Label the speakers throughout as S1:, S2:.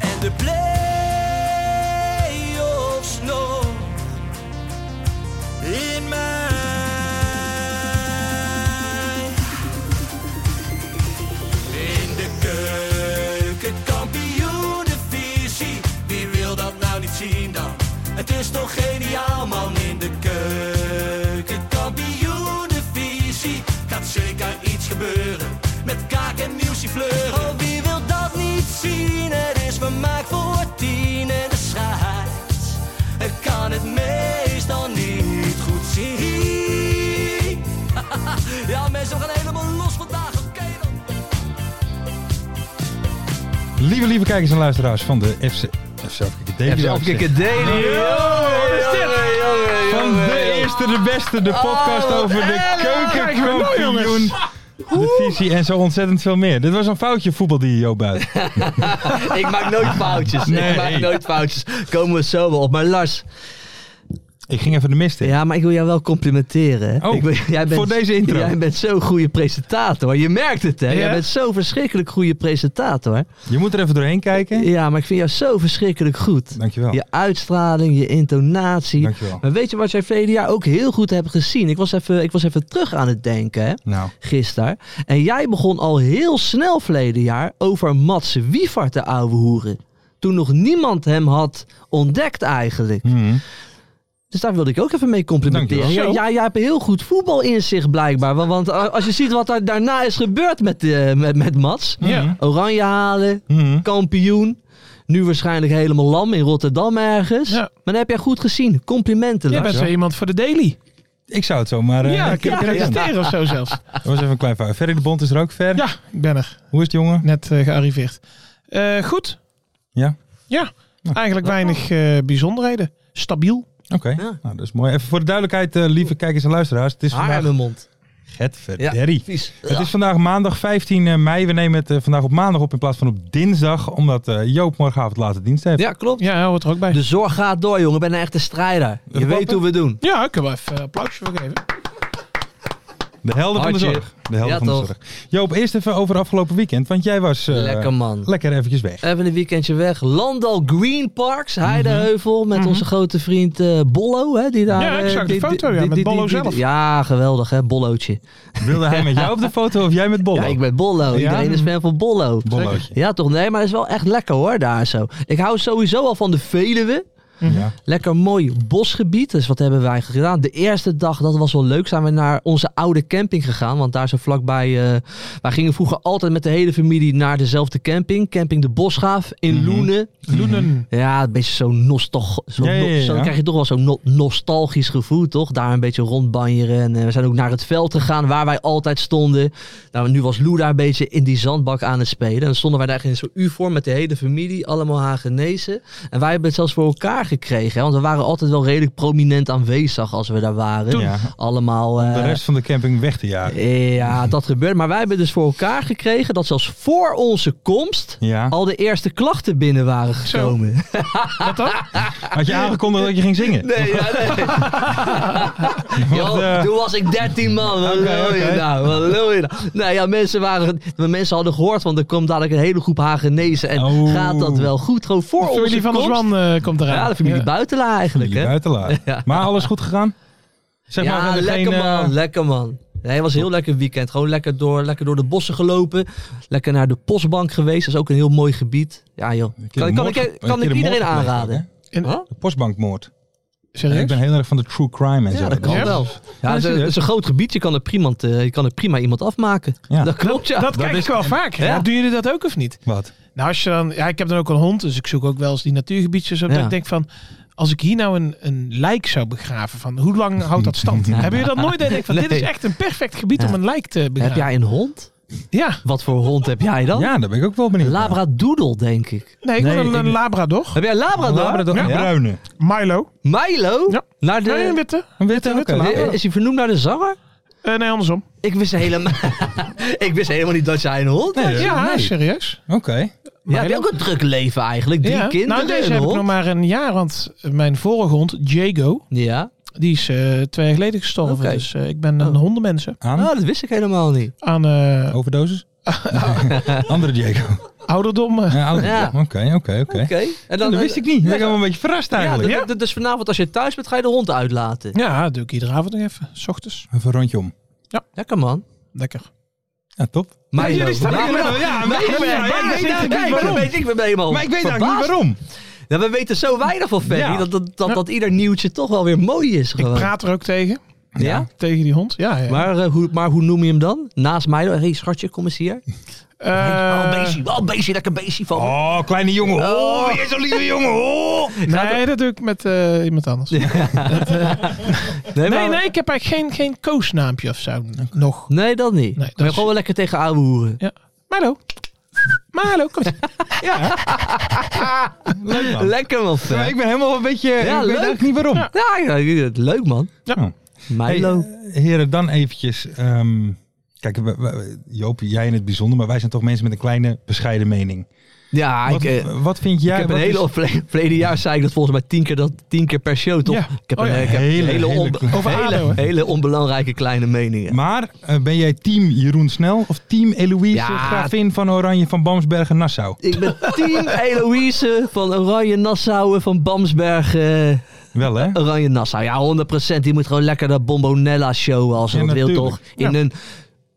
S1: En de play-offs nog.
S2: In mij.
S1: In de keuken, kampioenenvisie. Wie wil dat nou niet zien dan? Het is toch geniaal man in de keuken, kampioenenvisie. Gaat zeker iets gebeuren met kaak en nieuwsje fleuren. Oh, wie wil dat niet zien? Het is vermaakt voor tien en de scheids. Ik kan het meestal niet goed zien. Ja, mensen, we gaan helemaal los vandaag. Oké dan.
S3: Lieve, lieve kijkers en luisteraars van de FC... FC Afrika Daily.
S4: FC
S3: wou ik
S4: Afrika
S3: zeggen.
S4: Daily.
S3: Van de eerste, de beste, de podcast
S4: wat
S3: over de
S4: erg.
S3: keukenkampioen. De visie en zo ontzettend veel meer. Dit was een foutje voetbal die Joop buiten.
S4: Ik maak nooit foutjes.
S3: Nee.
S4: Ik maak nooit foutjes. Komen we zo wel op. Maar Lars,
S3: Ik ging even de mist in.
S4: ja, maar ik wil jou wel complimenteren. hè.
S3: Oh,
S4: ik wil-
S3: voor deze intro.
S4: Jij bent zo'n goede presentator. Je merkt het, hè?
S3: Ja?
S4: Jij bent zo'n verschrikkelijk goede presentator.
S3: Je moet er even doorheen kijken.
S4: Ja, maar ik vind jou zo verschrikkelijk goed.
S3: Dankjewel.
S4: Je uitstraling, je intonatie.
S3: Dankjewel.
S4: Maar weet je wat jij verleden jaar ook heel goed hebt gezien? Ik was even, ik was even terug aan het denken, hè?
S3: Nou,
S4: gisteren. En jij begon al heel snel verleden jaar over Mats Wiefart te ouwe hoeren. Toen nog niemand hem had ontdekt eigenlijk.
S3: hmm.
S4: Dus daar wilde ik ook even mee complimenteren. Ja,
S3: Dankjewel.
S4: ja, jij hebt heel goed voetbal in zich blijkbaar. Want, want a- als je ziet wat er daarna is gebeurd met, eh, met, met Mats. Hm.
S3: Ja.
S4: Oranje halen,
S3: Hmm.
S4: kampioen. Nu waarschijnlijk helemaal lam in Rotterdam ergens.
S5: Ja.
S4: Maar dat heb jij goed gezien. Complimenten.
S5: Jij
S4: Lars.
S5: bent zo iemand voor de daily.
S3: ik zou het zomaar... eh,
S5: ja, ik
S3: kijken.
S5: kan presteren of zo zelfs.
S3: Dat was even een klein fout. Ferry de Bond is er ook ver.
S5: Ja, ik ben er.
S3: Hoe is het, jongen?
S5: Net eh, gearriveerd. Eh, goed.
S3: Ja?
S5: Ja, eigenlijk weinig eh, bijzonderheden. Stabiel.
S3: Oké.
S4: Ja.
S3: Nou, dat is mooi. Even voor de duidelijkheid, eh, lieve kijkers en luisteraars. Het is
S4: Haar in
S3: vandaag...
S4: mijn mond.
S3: Getverderi.
S4: Vies.
S3: Het is vandaag maandag 15 mei. We nemen het eh, vandaag op maandag op in plaats van op dinsdag. Omdat eh, Joop morgenavond late dienst heeft.
S4: Ja, klopt.
S5: Ja, hoort er ook bij.
S4: De zorg gaat door, jongen. Ik ben een echte strijder. Je
S3: klopt,
S4: weet
S3: hè?
S4: hoe we doen.
S5: Ja, ik heb wel even een applausje voor geven.
S3: De helden van de
S4: Hartje.
S3: zorg. De helden
S4: Ja,
S3: van de
S4: toch.
S3: zorg. Joop, eerst even over afgelopen weekend. Want jij was eh,
S4: Lekker man.
S3: lekker eventjes weg.
S4: Even een weekendje weg. Landal Green Parks, Heideheuvel. Met onze grote vriend eh, Bollo. Hè, die daar,
S5: Mhm. Ja, ik
S4: eh,
S5: zag die
S4: die-
S5: foto, ja, met Bollo zelf.
S4: ja, geweldig hè, Bollootje.
S3: Wilde hij met jou op de foto of jij met Bollo?
S4: Ja, ik ben Bollo. Iedereen is fan van Bollo.
S3: Bollootje.
S4: Ja toch, nee, maar het is wel echt lekker hoor daar zo. Ik hou sowieso al van de Veluwe.
S3: Ja.
S4: Lekker mooi bosgebied. Dus wat hebben wij gedaan? De eerste dag, dat was wel leuk, zijn we naar onze oude camping gegaan. Want daar zo vlakbij. eh, wij gingen vroeger altijd met de hele familie naar dezelfde camping. Camping de Bosgaaf in
S3: Mhm.
S4: Loenen.
S5: Loenen.
S4: Ja, een beetje zo'n nostalgisch. Zo
S3: Ja, ja, ja,
S4: no- zo
S3: ja.
S4: krijg je toch wel zo'n no- nostalgisch gevoel, toch? Daar een beetje rondbanjeren. En eh, we zijn ook naar het veld gegaan waar wij altijd stonden. Nou, nu was Lou daar een beetje in die zandbak aan het spelen. En dan stonden wij daar in zo'n U-vorm met de hele familie, allemaal Hagenezen. En wij hebben het zelfs voor elkaar gekregen. Hè? Want we waren altijd wel redelijk prominent aanwezig als we daar waren.
S3: Ja.
S4: Allemaal.
S3: De
S4: eh,
S3: rest van de camping weg te jagen.
S4: ja, dat gebeurt. Maar wij hebben dus voor elkaar gekregen dat zelfs voor onze komst
S3: Ja.
S4: al de eerste klachten binnen waren gekomen.
S5: Wat dan?
S3: Had je aangekondigd dat je ging zingen?
S4: Nee, ja, nee. Yo,
S3: eh,
S4: toen was ik 13 man. Wat
S3: Oké,
S4: lul je
S3: oké.
S4: nou? Wat lul je nou? Nou ja, mensen, waren, mensen hadden gehoord, want er komt dadelijk een hele groep Hagenezen. En
S3: Oh.
S4: gaat dat wel goed? Gewoon voor
S5: De
S4: ons.
S5: familie van der Zwan eh, komt eraan.
S4: Ja, de familie Buitelaar eigenlijk.
S3: Jullie
S4: Hè?
S3: buitenlaar.
S4: Ja.
S3: Maar alles goed gegaan? Zeg maar, we
S4: ja,
S3: hebben
S4: lekker
S3: geen, eh,
S4: man, lekker man. Nee, het was een heel lekker weekend. Gewoon lekker door, lekker door de bossen gelopen. Lekker naar de postbank geweest. Dat is ook een heel mooi gebied. Ja joh,
S3: een keer
S4: kan,
S3: de
S4: kan
S3: moord-
S4: ik,
S3: een
S4: kan
S3: keer
S4: ik
S3: de
S4: iedereen
S3: moord gepleegd,
S4: aanraden.
S5: In-
S4: Huh?
S3: De postbankmoord.
S5: Serieus?
S3: ik ben heel erg van de true crime en zo.
S4: Ja, dat kan
S5: Ja?
S4: wel. Ja, het is, het is een groot gebied. Je kan er prima, eh, je kan er prima iemand afmaken.
S3: Ja.
S4: Dat klopt, ja.
S5: Dat kijk ik wel vaak.
S4: Ja.
S5: Ja, doen jullie dat ook of niet?
S3: Wat?
S5: Nou, als je dan, ja, ik heb dan ook een hond, dus ik zoek ook wel eens die natuurgebiedjes op.
S4: Ja.
S5: Dat ik denk van, als ik hier nou een, een lijk zou begraven, van hoe lang houdt dat stand? Hebben jullie dat nooit? Dat ik denk van, dit is
S4: Nee.
S5: echt een perfect gebied om een lijk te
S4: Heb
S5: begraven.
S4: jij een hond?
S5: Ja,
S4: Wat voor hond heb jij dan?
S3: Ja, daar ben ik ook wel benieuwd. naar.
S4: Labradoodle, denk ik.
S5: nee, ik
S3: Nee,
S5: wil een,
S3: ik-
S5: een labrador.
S4: Heb jij een
S3: Een
S4: Labrador?
S3: Labrador.
S5: Ja.
S3: Een bruine.
S5: Milo.
S4: Milo?
S5: Ja.
S4: Naar de...
S5: Nee, een witte.
S3: Een witte.
S5: witte
S3: oké.
S5: Labrador.
S4: Eh, Is hij vernoemd naar de zanger?
S5: Eh, nee, andersom.
S4: Ik wist helemaal, ik wist helemaal niet dat jij een hond had.
S3: Eh,
S5: ja,
S3: nee.
S5: serieus.
S3: Oké.
S4: ja, heb je ook een druk leven eigenlijk? Drie
S5: ja.
S4: kinderen,
S5: Nou, deze
S4: een
S5: heb ik
S4: hond.
S5: nog maar een jaar, want mijn vorige hond, Jago,
S4: Ja.
S5: die is eh, twee jaar geleden gestorven.
S4: Oké.
S5: Dus eh, ik ben een hondenmensen.
S3: Aan.
S4: Oh, dat wist ik helemaal niet.
S5: Aan eh,
S3: Overdosis? Andere Diego.
S5: ouderdom. eh,
S3: Ja, oude-
S4: Ja.
S3: Oké, oké, oké.
S4: Oké. En dan eh,
S3: Dat wist ik niet.
S4: Ja,
S3: Ik ben wel een beetje verrast
S4: ja,
S3: eigenlijk.
S4: d- d- Dus vanavond als je thuis bent, ga je de hond uitlaten.
S5: Ja, dat doe ik iedere avond nog even. S ochtends.
S3: Even een rondje om.
S4: Lekker man.
S5: Lekker.
S3: Ja, top.
S4: Milo.
S3: jullie staan
S4: Ja,
S3: er
S4: maar-
S3: wel- ja,
S4: maar-
S3: Milo,
S4: maar-
S3: ja,
S4: maar-
S3: ja,
S4: ik
S3: ja,
S4: weet-
S3: ja,
S4: ik
S3: ja,
S4: weet-
S3: waarom?
S4: ik weet- Ik ben helemaal
S3: Maar ik weet eigenlijk niet
S4: verbaasd.
S3: waarom.
S4: Ja, we weten zo weinig van Ferry
S3: Ja.
S4: dat, dat, dat,
S5: Ja.
S4: dat ieder nieuwtje toch wel weer mooi is.
S5: Ik
S4: Gewoon.
S5: praat er ook tegen.
S4: ja?
S5: Tegen die hond. Ja, ja.
S4: Maar, eh, hoe, maar hoe noem je hem dan? Naast Milo. Hé hey, schatje, kom eens hier.
S5: Eh,
S4: oh, beestje. Oh, beestje. Lekker beestje van me.
S3: Oh, kleine jongen.
S4: Oh.
S3: Oh, weer zo'n lieve jongen. Oh.
S5: nee, dat doe ik met eh, iemand anders. Nee,
S4: maar-
S5: nee, ik heb eigenlijk geen, geen koosnaampje of zo nog.
S4: Nee, dat niet.
S5: Nee,
S4: Nee,
S5: dat
S4: maar
S5: is-
S4: gewoon wel lekker tegen ouwe hoeren.
S5: Ja. Malo. Malo, kom eens.
S3: Leuk man.
S4: Lekker man, Fer.
S3: Ja, ik ben helemaal een beetje... ik weet
S4: leuk.
S3: eigenlijk niet waarom. Oh.
S4: Ja, ja, ja, leuk man.
S3: Ja. Hey,
S4: Milo.
S3: eh, heren, dan eventjes. ehm, kijk, we- we- Joop, jij in het bijzonder, maar wij zijn toch mensen met een kleine bescheiden mening.
S4: ja,
S3: Wat,
S4: ik, eh, ik
S3: wat vind jij?
S4: heb een
S3: wat
S4: hele...
S3: is-
S4: vle- Verleden jaar zei ik dat volgens mij tien keer, dat, tien keer per show, toch?
S5: Ja.
S4: Ik heb
S5: Oh
S4: een
S5: ja,
S4: eh, ik heb
S3: hele,
S4: hele,
S3: hele
S4: onbe-
S3: kleine-
S5: Over
S4: hele,
S5: ADO, hè?
S4: hele onbelangrijke kleine meningen.
S3: Maar eh, ben jij team Jeroen Snel of team Eloïse
S4: Ja.
S3: Gravin van Oranje van Bamsbergen Nassau?
S4: Ik ben team Eloïse van Oranje Nassau van Bamsberg. eh,
S3: Wel hè?
S4: Oranje Nassau. Ja, 100%. Die moet gewoon lekker dat Bombonella showen als ze
S3: Ja,
S4: dat wil,
S3: natuurlijk.
S4: toch? In een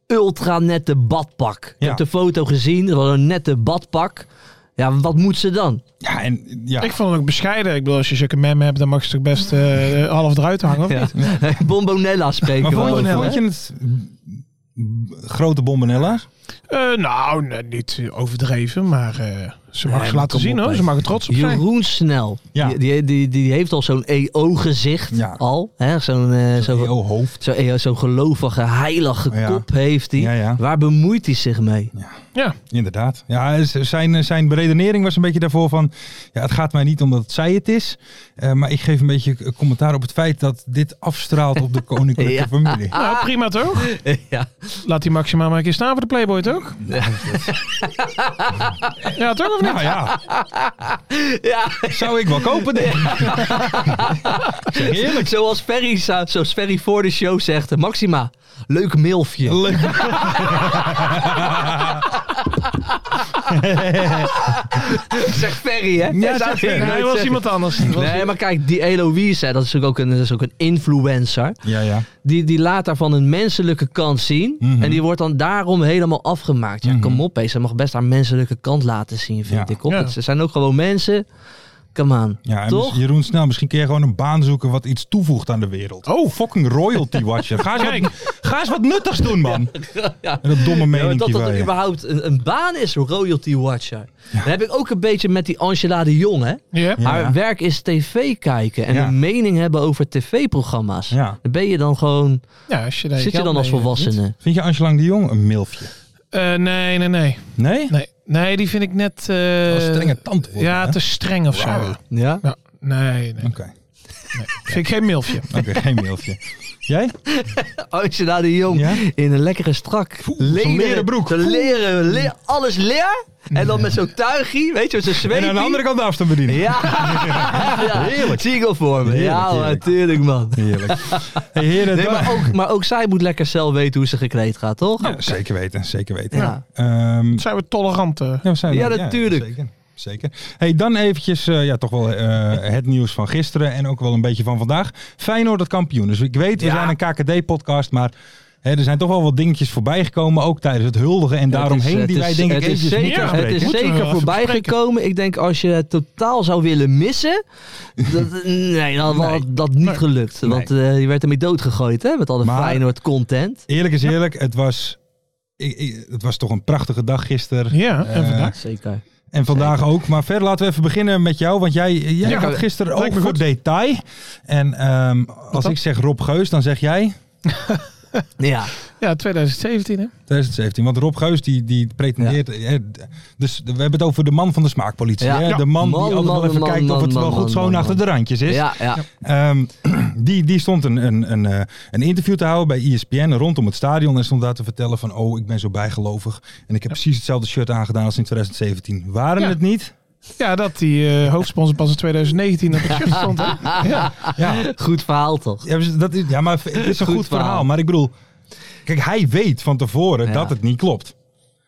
S4: ultranette badpak. Ik
S3: Ja.
S4: heb de foto gezien. Dat was een nette badpak. Ja, wat moet ze dan?
S3: Ja, en ja.
S5: Ik vond het ook bescheiden. Ik bedoel, als je zulke mem hebt, dan mag je toch best eh, half eruit hangen, of
S4: Ja.
S5: niet?
S4: Bombonella spreken
S3: maar
S4: we
S3: vond, je-
S4: over,
S3: vond
S4: hè?
S3: je het m, grote bombenella's?
S5: Eh, nou, nee, niet overdreven, maar eh, ze mag
S4: Nee,
S5: ze laten
S4: kom
S5: zien,
S4: op,
S5: hoor.
S4: hè.
S5: Ze mag er trots op zijn.
S4: Jeroen Snel.
S3: Ja.
S4: Die, die, die, die heeft al zo'n EO-gezicht.
S3: Ja.
S4: Al. hè? Zo'n eh, zo'n
S3: EO hoofd.
S4: zo'n EO zo'n gelovige, heilige
S3: Ja.
S4: kop heeft hij.
S3: Ja, ja.
S4: Waar bemoeit hij zich mee?
S5: Ja,
S3: Inderdaad. Ja, z- zijn, zijn beredenering was een beetje daarvoor van... Ja, het gaat mij niet om dat zij het is. eh, maar ik geef een beetje commentaar op het feit dat dit afstraalt op de koninklijke
S4: Ja.
S3: familie.
S5: nou, prima toch?
S4: ja.
S5: Laat die Maxima maar een keer staan voor de Playboy, toch? Ja, toch of niet?
S3: Nou ja,
S4: ja.
S3: zou ik wel kopen denk ik. Zeg eerlijk.
S4: Zoals Ferry, zou- zoals Ferry voor de show zegt, Maxima, leuk milfje.
S3: Leuk.
S4: zegt Ferry, hè?
S3: Ja,
S4: Zou
S3: zegt
S4: je
S3: Ferry.
S4: nooit
S5: Nee, dat was
S4: zeggen.
S5: iemand anders. Dat was-
S4: Nee, maar kijk, die Eloise, hè, dat is natuurlijk ook een, dat is ook een influencer.
S3: Ja, ja.
S4: Die, die laat daarvan een menselijke kant zien.
S3: Mhm.
S4: En die wordt dan daarom helemaal afgemaakt. Ja, kom op, hè, ze mag best haar menselijke kant laten zien, vind
S3: Ja.
S4: ik. Op.
S5: Ja.
S4: Ze zijn ook gewoon mensen. Come on.
S3: ja en
S4: Toch?
S3: mis- Jeroen Snel, misschien kun je gewoon een baan zoeken wat iets toevoegt aan de wereld. Oh, fucking royalty watcher. Ga eens, wat, ga eens wat nuttigs doen, man.
S4: Ja.
S3: En dat domme
S4: Ja, maar
S3: mening
S4: dat dat überhaupt een, een baan is, royalty watcher. Dat heb ik ook een beetje met die Angela de Jong, hè?
S5: Ja.
S3: Ja.
S4: Haar werk is tv kijken en
S3: Ja.
S4: een mening hebben over tv-programma's.
S3: Ja.
S4: Dan ben je dan gewoon.
S5: Ja, als je daar
S4: zit je
S5: geld
S4: dan als
S5: mee, eh,
S4: volwassene?
S3: Vind je Angela de Jong een milfje?
S5: Eh, nee, nee, nee.
S3: Nee?
S5: Nee, nee die vind ik net... eh,
S3: Wel een strenge tand voor haar,
S5: Ja,
S3: hè?
S5: te streng of
S3: Wauw.
S5: zo.
S4: Ja?
S5: Ja, nee, nee.
S3: Oké,
S5: Vind ik geen milfje.
S3: oké, geen milfje. Jij?
S4: Angela de Jong
S3: Ja?
S4: in een lekkere strak
S3: zo'n leren broek.
S4: Zo'n leren, le- alles leer. En dan met zo'n tuigie, weet je, met zo'n zweepie.
S3: En aan de andere kant de afstand bedienen.
S4: Ja, ja. heerlijk. Zie ik al voor me.
S3: Heerlijk,
S4: ja,
S3: heerlijk.
S4: natuurlijk, man.
S3: Heerlijk. Hey, heren,
S4: Nee,
S3: dan-
S4: maar, ook, maar ook zij moet lekker zelf weten hoe ze gekleed gaat, toch?
S3: Ja, Oh, zeker weten, zeker weten.
S4: Ja.
S3: Ehm,
S5: Zijn we tolerant? eh?
S3: ja, we zijn
S4: Ja,
S3: er.
S4: natuurlijk.
S3: zeker. Zeker. Hey, dan eventjes eh, ja, toch wel eh, het nieuws van gisteren en ook wel een beetje van vandaag. Feyenoord het kampioen. Dus ik weet, we
S4: Ja.
S3: zijn een KKD-podcast, maar hè, er zijn toch wel wat dingetjes voorbij gekomen. Ook tijdens het huldigen en daaromheen
S4: Het is-
S3: die
S4: het
S3: wij
S4: is-
S3: denk ik
S4: het is
S3: eventjes
S4: zeker,
S3: moeten
S4: Het is
S3: bespreken.
S5: Moeten we
S4: zeker
S5: even
S4: voorbij
S5: bespreken.
S4: gekomen. Ik denk als je het totaal zou willen missen, dat, nee, dan had dat niet gelukt. Want eh, je werd ermee doodgegooid hè, met al de
S3: Maar-
S4: Feyenoord content.
S3: Eerlijk is eerlijk, het was, ik, ik- het was toch een prachtige dag gisteren.
S5: Ja, en
S3: Eh,
S5: vandaag?
S4: Zeker.
S3: En vandaag ook. Maar verder laten we even beginnen met jou. Want jij, jij
S4: Ja,
S3: had gisteren ook
S5: lijkt me
S3: voor
S5: goed.
S3: detail. En ehm, als
S5: dan?
S3: ik zeg Rob Geus, dan zeg jij...
S4: Ja,
S5: Ja, 2017 hè.
S3: 2017. Want Rob Geus die, die pretendeert... eh, d- dus we hebben het over de man van de smaakpolitie.
S4: Ja.
S3: Hè?
S4: Ja.
S3: De man,
S4: Man,
S3: die altijd
S4: man,
S3: wel even
S4: man,
S3: kijkt
S4: man,
S3: of het
S4: man,
S3: wel
S4: man,
S3: goed schoon
S4: man.
S3: achter de randjes is.
S4: Ja, ja.
S3: Ehm, die, die stond een, een, een, eh, een interview te houden bij E ESPN rondom het stadion. En stond daar te vertellen van, oh, ik ben zo bijgelovig. En ik heb precies hetzelfde shirt aangedaan als in 2017. Waren
S5: Ja.
S3: het niet?
S5: Ja, dat die eh, hoofdsponsor pas in 2019 op het shirt stond. Hè? Ja.
S3: Ja.
S4: Goed verhaal toch?
S3: Ja, maar dat is, ja, maar het is een goed,
S4: Goed
S3: verhaal.
S4: verhaal.
S3: Maar ik bedoel, kijk, hij weet van tevoren
S4: Ja.
S3: dat het niet klopt.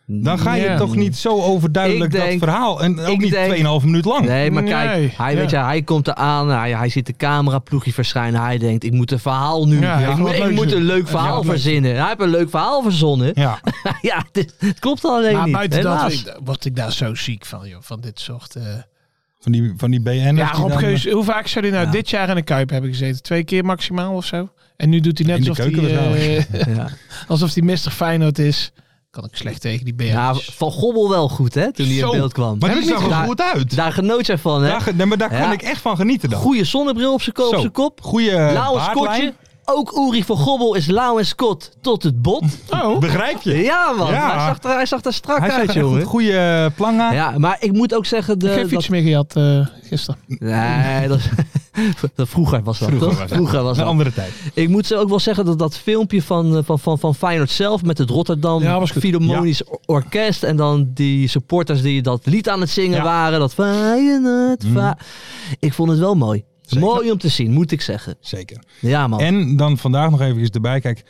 S3: Dan ga je
S5: Ja.
S3: toch niet zo overduidelijk
S4: Ik denk-
S3: dat verhaal. En ook
S4: ik
S3: niet
S4: denk-
S3: 2,5 minuut lang.
S4: Nee, maar kijk,
S5: Nee,
S4: hij,
S5: ja.
S4: weet je, hij komt eraan, hij, hij ziet de cameraploegje verschijnen. Hij denkt, ik moet een verhaal nu,
S5: Ja, ja,
S4: ik, moet,
S5: wat
S4: ik
S5: leuks
S4: moet
S5: doen.
S4: een leuk
S5: Ja,
S4: verhaal
S5: wat leuks.
S4: verzinnen. Hij heeft een leuk verhaal verzonnen.
S3: Ja.
S4: Ja, dit- het klopt alleen
S5: Maar
S4: niet,
S5: buiten dat
S4: helaas.
S5: ik- word ik daar zo ziek van, joh. Van dit soort... eh,
S3: Van die, van die BN'ers.
S5: Ja,
S3: die
S5: Rob
S3: dan-
S5: Geus, hoe vaak zou hij nou dit jaar in de Kuip hebben gezeten? Twee keer maximaal of zo? En nu doet hij net
S3: In de
S5: alsof hij,
S3: keuken waarschijnlijk.
S5: eh,
S4: Ja.
S5: alsof hij Mr. Feyenoord is. Kan ik slecht tegen die beer.
S4: Ja, Van Gobbel wel goed, hè, toen hij
S3: Zo,
S4: in beeld kwam.
S3: Maar die
S4: Heb ik
S3: zag
S4: niet
S3: er
S4: gedaan.
S3: goed uit.
S4: Daar genoot jij van, hè?
S3: Daar, nee, maar daar
S4: Ja.
S3: kan ik echt van genieten dan.
S4: Goeie zonnebril op zijn ko- op
S3: Zo,
S4: zijn kop.
S3: Goeie eh,
S4: Lauw en
S3: baardlijn.
S4: Scottje. Ook Uri van Gobbel is Lauw en Scott tot het bot.
S5: Oh,
S3: Begrijp je?
S4: Ja, man.
S3: Ja.
S4: Hij, zag er, hij zag er strak
S3: Hij
S4: uit,
S3: zegt echt een
S4: jongen.
S3: goede planga.
S4: Ja, maar ik moet ook zeggen... De,
S5: geen fiets
S4: dat,
S5: meer gehad eh, gisteren.
S4: nee, dat, dat vroeger was dat,
S3: Vroeger
S4: toch?
S3: was dat.
S4: vroeger was
S3: Een
S4: dat.
S3: andere tijd.
S4: Ik moet ze ook wel zeggen dat dat filmpje van, eh, van, van, van Feyenoord zelf... met het Rotterdam
S5: Ja, was goed.
S4: Philharmonisch Or- Orkest... en dan die supporters die dat lied aan het zingen
S3: Ja.
S4: waren. Dat Feyenoord...
S5: Mhm.
S4: Fe- Ik vond het wel mooi.
S3: Zeker.
S4: Mooi om te zien, moet ik zeggen.
S3: Zeker.
S4: Ja, man.
S3: En dan vandaag nog even erbij. Kijk,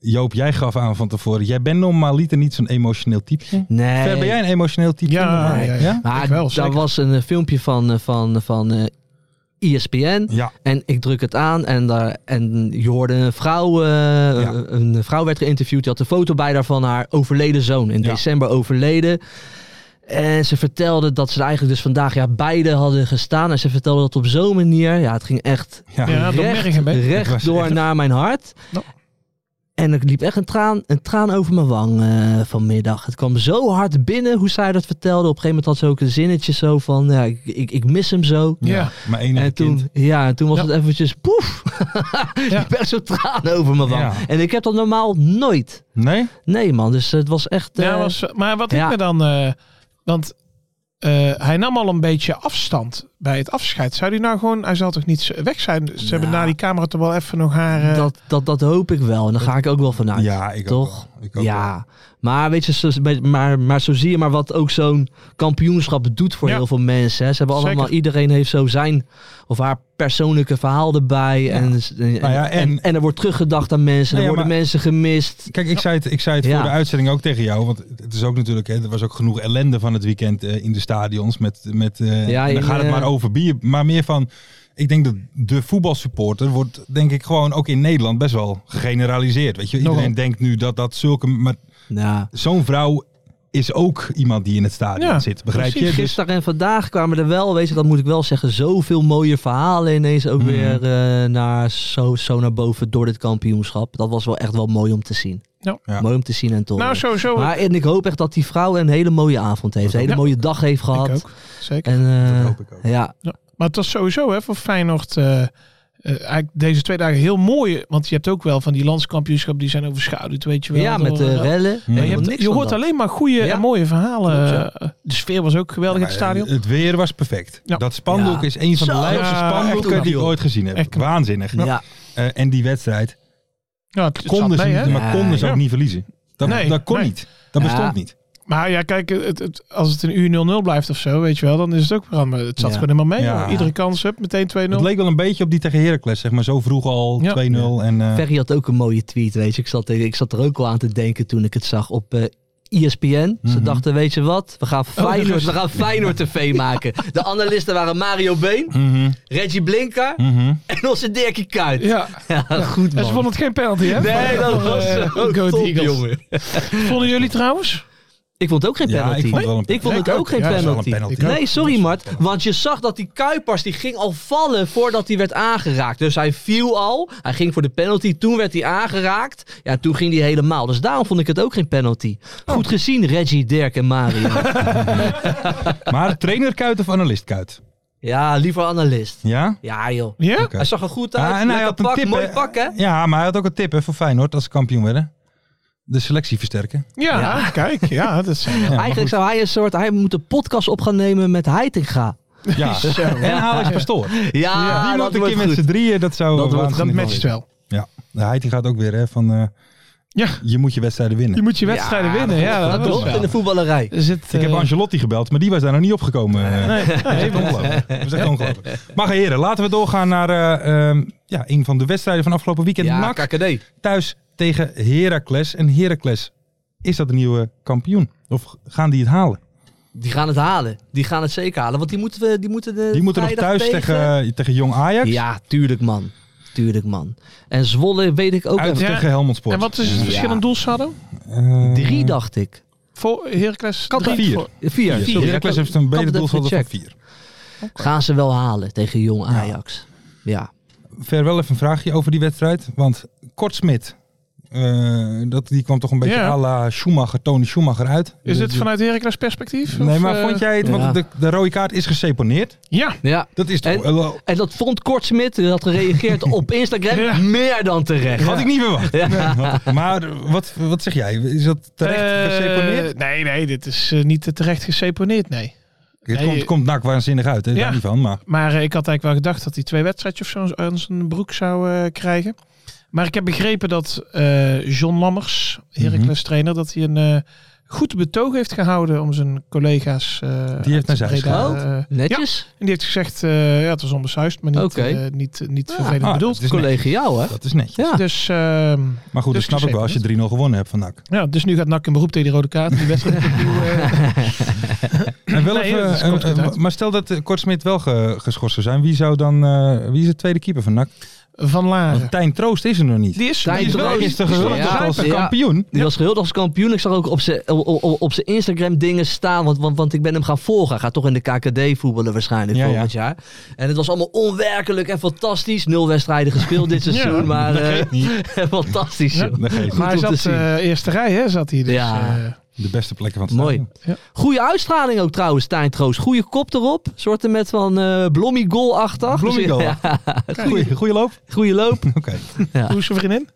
S3: Joop, jij gaf aan van tevoren. Jij bent normaliter niet zo'n emotioneel type.
S4: nee.
S3: Ver, ben jij een emotioneel type?
S5: Ja, ja, ja.
S4: Maar
S5: Ik wel,
S4: daar
S5: zeker.
S4: was een eh, filmpje van, eh, van, van eh ESPN.
S3: Ja.
S4: En ik druk het aan en, daar, en je hoorde een vrouw, eh, een vrouw werd geïnterviewd. Die had een foto bij daar van haar overleden zoon. In
S3: Ja.
S4: december overleden. En ze vertelde dat ze er eigenlijk dus vandaag ja, beide hadden gestaan. En ze vertelde dat op zo'n manier. Ja, het ging echt
S3: Ja.
S5: Ja, dat merk ik
S4: recht,
S5: een beetje.
S4: recht
S3: Het was
S4: door
S3: echt-
S4: naar mijn hart.
S5: Nou.
S4: En er liep echt een traan, een traan over mijn wang eh, vanmiddag. Het kwam zo hard binnen hoe zij dat vertelde. Op een gegeven moment had ze ook een zinnetje zo van... Ja, ik, ik, ik mis hem zo.
S5: Ja.
S3: Maar enige
S4: En
S3: kind.
S4: toen, ja, en toen was
S5: Ja.
S4: het eventjes poef.
S5: Ja.
S4: Ik ben zo'n traan over mijn wang.
S3: Ja.
S4: En ik heb dat normaal nooit.
S3: Nee?
S4: Nee man, dus het was echt...
S5: Ja,
S4: eh,
S5: was, maar wat
S4: ja.
S5: ik me dan... eh, want eh, hij nam al een beetje afstand bij het afscheid. Zou hij nou gewoon... Hij zal toch niet z- weg zijn? Ze hebben na die camera toch wel even nog haar... eh,
S4: dat, dat, dat hoop ik wel. En daar ga ik ook wel vanuit.
S3: Ja, ik ook
S4: Nou, Toch?
S3: wel. Ik ook
S4: ja, maar weet je, zo, maar, maar zo zie je maar wat ook zo'n kampioenschap doet voor
S5: Ja.
S4: heel veel mensen. Hè. Ze hebben allemaal,
S5: Zeker.
S4: iedereen heeft zo zijn of haar persoonlijke verhaal erbij. En, en,
S3: Nou ja, en-
S4: en, en er wordt teruggedacht aan mensen,
S3: Nou ja,
S4: er worden
S3: maar-
S4: mensen gemist.
S3: Kijk, ik zei het, ik zei het
S4: Ja.
S3: voor de uitzending ook tegen jou. Want het is ook natuurlijk, hè, er was ook genoeg ellende van het weekend eh, in de stadions. Met, met, eh,
S4: Ja,
S3: en dan
S4: in,
S3: gaat het
S4: eh,
S3: maar over bier. Maar meer van, ik denk dat de voetbalsupporter wordt, denk ik, gewoon ook in Nederland best wel gegeneraliseerd. Weet je, iedereen
S5: Nogal.
S3: denkt nu dat dat zulke. Maar
S4: Ja.
S3: zo'n vrouw is ook iemand die in het stadion
S5: Ja,
S3: zit. Begrijp je?
S4: Precies,
S3: Dus-
S4: gisteren en vandaag kwamen er wel, weet je, dat moet ik wel zeggen, zoveel mooie verhalen ineens ook
S5: Mhm.
S4: weer eh, naar, zo, zo naar boven door dit kampioenschap. Dat was wel echt wel mooi om te zien.
S5: Ja.
S3: Ja.
S4: Mooi om te zien en te
S5: nou,
S4: horen.
S5: sowieso.
S4: Maar en ik hoop echt dat die vrouw een hele mooie avond heeft. Een hele
S5: Ja.
S4: mooie dag heeft gehad.
S5: ik ook. Zeker.
S4: En, eh,
S3: Dat hoop ik ook.
S4: Ja,
S5: Ja, maar het was sowieso hè, voor Feyenoord eh, eh, eigenlijk deze twee dagen heel mooi. Want je hebt ook wel van die landskampioenschap die zijn overschaduwd, weet je wel.
S4: ja
S5: door,
S4: met de
S5: eh,
S4: rellen.
S3: Ja,
S5: en
S4: En
S5: je, hebt-
S4: niks
S5: je
S4: van
S5: hoort
S4: dat.
S5: alleen maar goede
S4: Ja.
S5: en mooie verhalen. Eh,
S4: Klopt,
S5: De sfeer was ook geweldig in het
S3: Maar, eh,
S5: stadion.
S3: Het weer was perfect.
S5: Ja.
S3: Dat spandoek
S4: Ja.
S3: is een van de
S4: Zo.
S3: lijpste
S5: Ja, echt
S3: spandoeken
S5: knap,
S3: die ik
S4: joh.
S3: ooit gezien heb.
S5: Echt knap.
S3: Waanzinnig.
S4: Ja,
S3: Eh, en die wedstrijd
S5: ja, het, het zat
S3: konden ze,
S5: mee, hè?
S3: niet, maar
S4: Ja,
S3: konden ze
S5: ja.
S3: ook niet verliezen. Dat,
S5: Nee,
S3: dat kon
S5: nee.
S3: niet. Dat
S4: Ja.
S3: bestond niet.
S5: Maar ja, kijk, het, het- als het een uur 0-0 blijft of zo, weet je wel, dan is het ook programma. Het zat
S4: Ja.
S5: gewoon helemaal mee.
S3: Ja.
S5: hoor. Iedere kans, hup, meteen 2-0.
S3: Het leek wel een beetje op die tegen Heracles, zeg maar. Zo vroeg al
S5: Ja.
S3: 2-0. En, eh,
S4: Ferry had ook een mooie tweet, weet je. Ik zat, ik zat er ook al aan te denken toen ik het zag op eh ESPN. Ze
S3: Mhm.
S4: dachten, weet je wat, we
S5: Oh,
S4: gaan Feyenoord,
S5: rust.
S4: we gaan Feyenoord TV maken. De analisten waren Mario Been,
S3: mhm,
S4: Reggie Blinker
S3: mhm.
S4: en onze Dirkie Kuyt. Ja,
S5: Ja,
S4: goed
S5: en ze vonden
S4: man.
S5: het geen penalty, hè?
S4: Nee, dat
S5: Van,
S4: was
S5: eh,
S4: zo
S5: Go
S4: top,
S5: Eagles.
S4: jongen.
S5: Vonden jullie trouwens?
S4: Ik vond het ook geen
S3: Ja,
S4: penalty.
S3: ik vond het wel een
S4: Ik vond
S5: Nee,
S4: het
S5: ik
S4: ook
S5: ook.
S4: geen
S5: Ja, het is
S3: wel
S4: penalty.
S3: een penalty.
S4: Nee, sorry Mart. Want je zag dat die Kuipers die ging al vallen voordat hij werd aangeraakt. Dus hij viel al. Hij ging voor de penalty. Toen werd hij aangeraakt. Ja, toen ging hij helemaal. Dus daarom vond ik het ook geen penalty.
S3: Oh.
S4: Goed gezien, Reggie, Dirk en Mario.
S3: Maar trainerkuit of analistkuit?
S4: ja, liever analist.
S3: Ja?
S4: Ja, joh.
S5: Ja?
S3: Oké.
S4: Hij zag er goed uit.
S3: Ah, en hij
S4: Lekker
S3: had een
S4: pak,
S3: tip.
S4: mooi
S3: hè.
S4: pak, hè?
S3: Ja, maar hij had ook een tip hè, voor Feyenoord als ze kampioen werden. de selectie versterken.
S5: Ja, kijk. Ja, dat is,
S4: Eigenlijk zou hij een soort, hij moet een podcast op gaan nemen met Heitinga.
S3: Ja. En Alex Pastoor.
S4: Ja, dat
S3: Die moet een
S4: wordt
S3: keer met
S4: goed.
S3: z'n drieën, dat zou
S4: Dat wordt-
S3: waanzinnig
S5: dat
S3: mooi
S5: matcht
S3: zijn.
S5: wel.
S3: Ja, de Heiting gaat ook weer hè, van eh,
S5: Ja,
S3: je moet je wedstrijden
S5: je
S3: winnen.
S5: moet je wedstrijden winnen. Ja, dat,
S4: dat
S5: is
S4: klopt in de
S5: wel.
S4: voetballerij.
S5: Er zit,
S3: Ik heb
S5: eh,
S3: Angelotti gebeld, maar die was daar nog niet opgekomen. eh.
S5: Nee,
S3: Dat is echt ongelooflijk. Dat is echt ongelooflijk. Maar heren, laten we doorgaan naar eh, ehm, ja, een van de wedstrijden van afgelopen weekend.
S4: Ja,
S3: NAC
S4: KKD.
S3: thuis tegen Heracles. En Heracles, is dat een nieuwe kampioen? Of gaan die het halen?
S4: Die gaan het halen. Die gaan het zeker halen. Want die moeten, we, die moeten, de
S3: Die moeten nog
S4: Eh, vrijdag
S3: thuis tegen, eh, tegen Jong Ajax.
S4: Ja, tuurlijk man. Tuurlijk man. En Zwolle weet ik ook
S3: Uit
S4: even.
S5: Ja.
S3: tegen Helmond Sport.
S5: En wat is het verschil in
S4: Ja.
S5: doelsaldo?
S3: Eh,
S4: Drie dacht ik.
S5: Voor Heracles
S3: Kan
S5: drie.
S3: dat? Vier.
S5: Voor-
S4: Vier.
S3: Heracles
S4: Sorry,
S3: Heracles
S4: ik-
S3: heeft een
S4: ik had
S3: beter
S4: het even
S3: doelsaldo van
S4: gecheckt.
S3: vier.
S4: Gaan ze wel halen tegen jong Ajax. Ja.
S3: Ver wel even een vraagje over die wedstrijd. Want Kortsmit, eh, dat, die kwam toch een beetje
S5: Ja.
S3: à la Schumacher, Tony Schumacher uit.
S5: Is
S3: De-
S5: dit
S3: de-
S5: vanuit Heracles perspectief?
S3: Nee,
S5: Of,
S3: maar
S5: eh,
S3: vond jij het? Want
S4: Ja.
S3: de, de rode kaart is geseponeerd.
S5: Ja.
S4: ja.
S3: Dat is toch...
S4: En-
S3: wel-
S4: En dat vond Kortsmit, die had gereageerd op Instagram,
S5: Ja.
S4: meer dan terecht.
S3: Had ik niet verwacht. Nee, maar wat, wat zeg jij? Is dat terecht
S5: Eh,
S3: geseponeerd?
S5: Nee, nee, dit is eh, niet eh, terecht geseponeerd, nee.
S3: Het
S5: nee.
S3: komt, komt nak waanzinnig uit, hè?
S5: Ja.
S3: daar niet van. Maar
S5: Maar eh, ik had eigenlijk wel gedacht dat hij twee wedstrijdjes of zo aan zijn broek zou eh, krijgen. Maar ik heb begrepen dat eh, John Lammers, Heracles trainer, dat hij een eh, goed betoog heeft gehouden om zijn collega's. eh,
S3: die heeft naar zij
S5: Breda,
S3: geschaald.
S4: geschaald.
S5: eh, ja,
S4: Netjes,
S5: en die heeft gezegd, eh, ja, het was onbesuist, maar niet,
S4: Oké.
S5: eh, niet, niet
S4: Ja. dus
S5: vervelend
S3: Ah,
S5: bedoeld.
S3: dat is
S4: collegiaal hè?
S3: netjes. Dat is netjes.
S4: Ja.
S5: Dus, ehm,
S3: Maar goed,
S5: Dus
S3: dat snap ik wel als je 3-0 gewonnen hebt van NAC.
S5: ja, dus nu gaat NAC in beroep tegen die rode kaart. Die wedstrijd opnieuw, eh,
S3: En wel
S5: Nee,
S3: even,
S5: dat is
S3: eh,
S5: komt goed
S3: eh,
S5: uit.
S3: maar stel dat eh, Kortsmit wel ge- geschorst zou zijn. Wie, zou dan, eh, wie is de tweede keeper van NAC?
S5: van
S3: Want
S5: Laren.
S3: Tijn Troost is er nog niet.
S5: Die is,
S4: Tijn
S5: die is wel
S4: Troost.
S5: die is
S3: gisteren
S5: wel
S4: gehuld
S5: aan de
S4: ja,
S3: als
S5: zijkant.
S4: ja.
S3: kampioen.
S4: Die was gehuld als kampioen. Ik zag ook op zijn o- o- op zijn Instagram dingen staan. Want, want, want ik ben hem gaan volgen. Hij gaat toch in de KKD voetballen waarschijnlijk
S3: Ja, ja.
S4: volgend jaar. En het was allemaal onwerkelijk en fantastisch. Nul wedstrijden gespeeld dit seizoen.
S5: Ja,
S4: maar
S3: dat
S4: eh,
S3: geeft niet.
S4: fantastisch.
S5: Ja,
S4: joh.
S3: Dat geeft niet.
S5: Maar hij
S4: om te
S5: zat eh eerste rij, hè, zat hij dus.
S4: Ja.
S5: eh,
S3: De beste plekken van het
S4: Mooi.
S3: stadion.
S5: Ja.
S4: Goede uitstraling ook trouwens, Stijn Troost. Goede kop erop. Soorten met van eh Blommy goal achtig.
S3: Bloemigol.
S4: Ja,
S3: Goeie, goeie loop.
S4: goede loop.
S3: Oké.
S5: Hoe is zijn vriendin?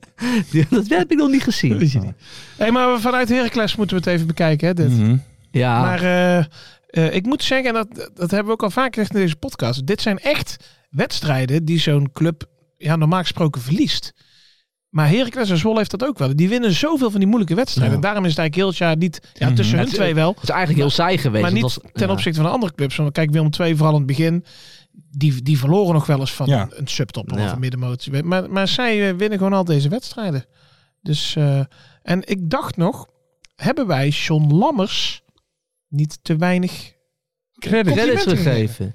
S4: Die- Dat heb ik nog niet
S5: Dat
S4: gezien.
S5: weet je niet. Hey, maar vanuit Heracles moeten we het even bekijken. Hè, dit.
S3: Mhm.
S4: Ja,
S5: Maar eh, eh, ik moet zeggen, en dat, dat hebben we ook al vaak gezegd in deze podcast. Dit zijn echt wedstrijden die zo'n club ja, normaal gesproken verliest. Maar Heracles en Zwolle heeft dat ook wel. Die winnen zoveel van die moeilijke wedstrijden.
S4: Ja. Mhm.
S5: En daarom is het eigenlijk heel het jaar niet... Ja, tussen hun
S4: Het-
S5: twee wel.
S4: het is eigenlijk heel saai geweest.
S5: Maar niet
S4: Het was-
S5: ten
S4: ja.
S5: opzichte van de andere clubs. Want kijk, Willem II vooral aan het begin. Die, die verloren nog wel eens van
S3: Ja.
S5: een- een subtop
S4: Ja.
S5: of een middenmotie. Maar, maar zij eh, winnen gewoon al deze wedstrijden. Dus, eh, en ik dacht nog, hebben wij John Lammers niet te weinig...
S3: Credit.
S4: Credits
S5: complimenten
S4: gegeven.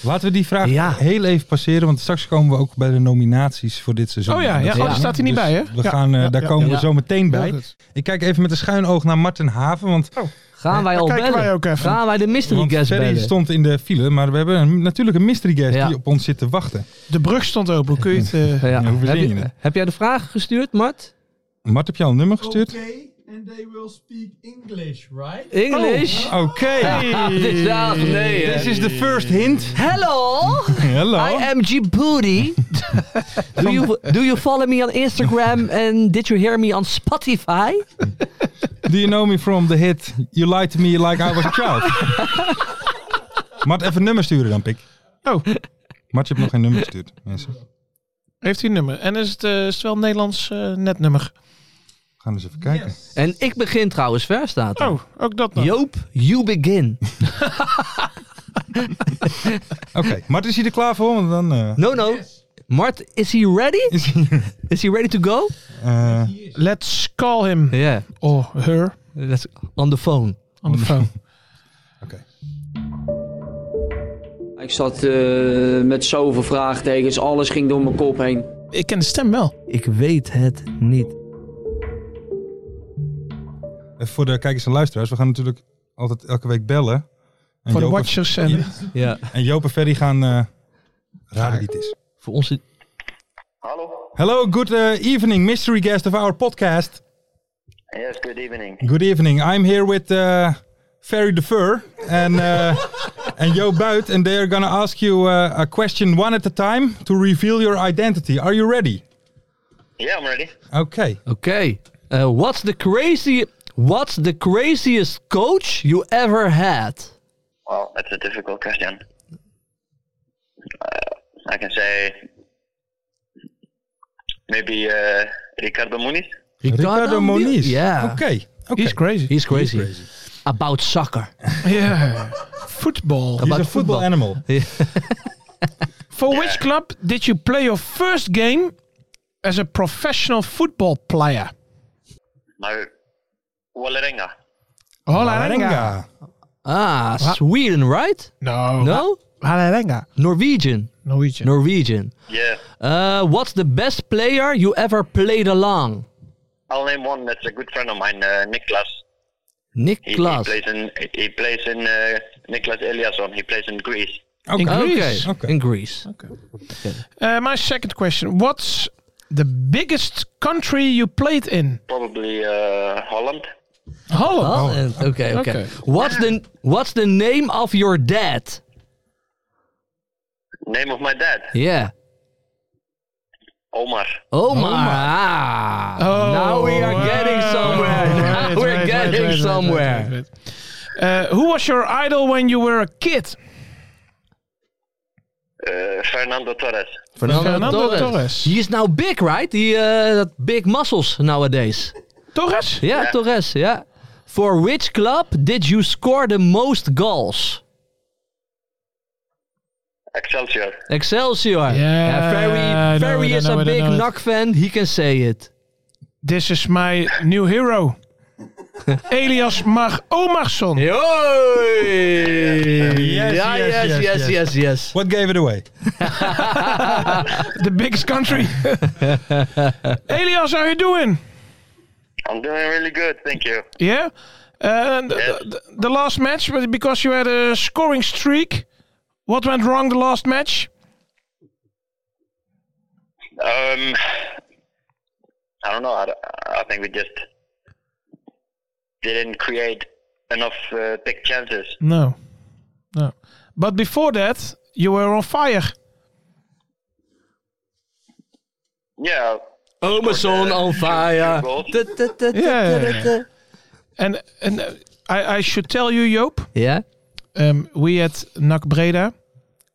S3: Laten we die vraag
S4: Ja.
S3: heel even passeren, want straks komen we ook bij de nominaties voor dit seizoen.
S5: Oh ja, ja.
S3: Dat-
S5: Oh, daar staat hij niet
S3: Dus
S5: bij, hè?
S3: We
S5: Ja.
S3: gaan, eh,
S5: Ja,
S3: daar
S5: ja,
S3: komen
S4: ja.
S3: we zo meteen bij.
S5: Heel goed.
S3: Ik kijk even met een schuin oog naar Martin Haven, want,
S4: Gaan wij
S5: Daar
S4: al
S5: kijken
S4: bellen.
S5: wij ook even.
S4: Gaan wij de mystery
S3: want
S4: guest
S3: Ferry
S4: bellen.
S3: stond in de file, maar we hebben een, natuurlijk een mystery guest
S4: Ja.
S3: die op ons zit te wachten.
S5: De brug stond open. Hoe kun je het... eh,
S4: Ja,
S3: Ja, hoe
S4: heb,
S3: verzin je
S4: je,
S3: het?
S4: heb jij de vraag gestuurd, Mart?
S3: Mart, heb je al een nummer gestuurd?
S6: Okay, and they will speak English, right?
S4: English? Ah,
S3: Oké.
S4: dit is ja of nee, hè?
S3: This Oh. is the first hint.
S4: Hello,
S3: Hallo.
S4: I am Djibouti. do, you, do you follow me on Instagram and did you hear me on Spotify?
S3: Do you know me from the hit You Lied to Me Like I Was a Child? Mart, even een nummer sturen dan, pik.
S5: Oh,
S3: Mart, je hebt nog geen nummer gestuurd, mensen. We
S5: heeft hij een nummer. En is het, eh, is het wel een Nederlands eh, netnummer?
S3: gaan eens even kijken.
S4: En ik begin trouwens, ver staat er.
S5: Oh, ook dat nog.
S4: Joop, you begin.
S3: Oké, Mart, is hij er klaar voor? Want dan... eh,
S4: No, no. Mart, is he ready?
S3: Is hij-
S4: Is he ready to go?
S3: Eh,
S5: Let's call him.
S4: Yeah,
S5: Or her.
S4: that's on the phone.
S5: On the phone.
S3: Oké.
S7: Ik zat eh, met zoveel vraagtekens, alles ging door mijn kop heen.
S5: Ik ken de stem wel.
S4: Ik weet het niet.
S3: Even Voor de kijkers en luisteraars, we gaan natuurlijk altijd elke week bellen. En
S5: Voor de
S3: Joop en-
S5: watchers en...
S4: Ja,
S3: En Joop en Ferry gaan eh raden wie het is.
S4: voor ons...
S8: Hello.
S3: Hello, good eh, evening, mystery guest of our podcast.
S8: Yes, good evening.
S3: Good evening. I'm here with uh, Ferry the Fur and uh, and Joop Buit, and they are gonna ask you uh, a question one at a time to reveal your identity. Are you ready?
S8: Yeah, I'm ready.
S3: Okay.
S4: Oké. Eh, what's, the crazy, what's the craziest coach you ever had?
S8: Well, that's a difficult question. Uh, I can say maybe uh, Ricardo Muniz.
S3: Ricardo Moniz.
S4: Ja.
S3: Oké. oké.
S5: He's crazy.
S4: He's crazy.
S3: He's crazy.
S4: About soccer.
S5: Yeah. Football.
S3: He's a
S4: About
S3: football
S4: voetbal.
S3: animal.
S5: For which club did you play your first game as a professional football player?
S8: Nou, Wallerenga.
S5: Hollerenga.
S4: Ah, Sweden, right?
S5: No.
S4: No?
S5: Hollerenga.
S4: Norwegian.
S5: Norwegian.
S4: Norwegian.
S8: Yeah,
S4: Uh, what's the best player you ever played along?
S8: I'll name one that's a good friend of mine, uh, Niklas. He, he
S4: Niklas.
S8: plays in he plays in uh, Niklas Eliasson. He plays in Greece.
S3: Oké.
S5: In Greece.
S4: Okay, in Greece.
S5: Uh, my second question. What's the biggest country you played in?
S8: Probably uh, Holland.
S5: Holland.
S4: Oh, and- okay, okay.
S5: Okay.
S4: What's the What's the name of your dad?
S8: Name of my dad,
S4: Yeah,
S8: Omar.
S4: Omar. Ah,
S5: Oh,
S4: Oh now we are getting
S5: wow.
S4: somewhere. Now
S5: Wait,
S4: we're
S5: wait, wait,
S4: getting
S5: wait, wait,
S4: somewhere.
S5: wait, wait, wait. Uh, who was your idol when you were a kid?
S8: Uh, Fernando Torres.
S4: Fernando,
S5: Fernando
S4: Torres.
S5: Torres.
S4: He is now big, right? He uh, that big muscles nowadays.
S5: Torres?
S4: Yeah,
S8: Yeah.
S4: Torres. Yeah. For which club did you score the most goals?
S8: Excelsior.
S4: Excelsior. Yeah,
S5: I know
S4: Ferry, Ferry
S5: it, I
S4: is
S5: know
S4: a
S5: it, I
S4: big
S5: know it.
S4: knock fan. He can say it.
S5: This is my new hero. Elias Mar Omarsson.
S4: Yo!
S3: yes,
S4: ja, yes,
S3: yes,
S4: yes,
S3: yes,
S4: yes,
S3: yes.
S4: yes,
S3: What gave it away?
S5: The biggest country. Elias, how you doing?
S8: I'm doing really good, thank you.
S5: Yeah. And th-
S8: Yes.
S5: th- the last match, but because you had a scoring streak, what went wrong the last match?
S8: Um, I don't know. I, don't- I think we just didn't create enough uh, big chances.
S5: No. No. But before that, you were on fire.
S8: Yeah,
S4: Amazon on fire.
S8: goals.
S4: Da, da, da, da,
S5: Yeah.
S4: da, da.
S5: And and uh, I, I should tell you, Joop,
S4: Yeah.
S5: um, we at NAC Breda,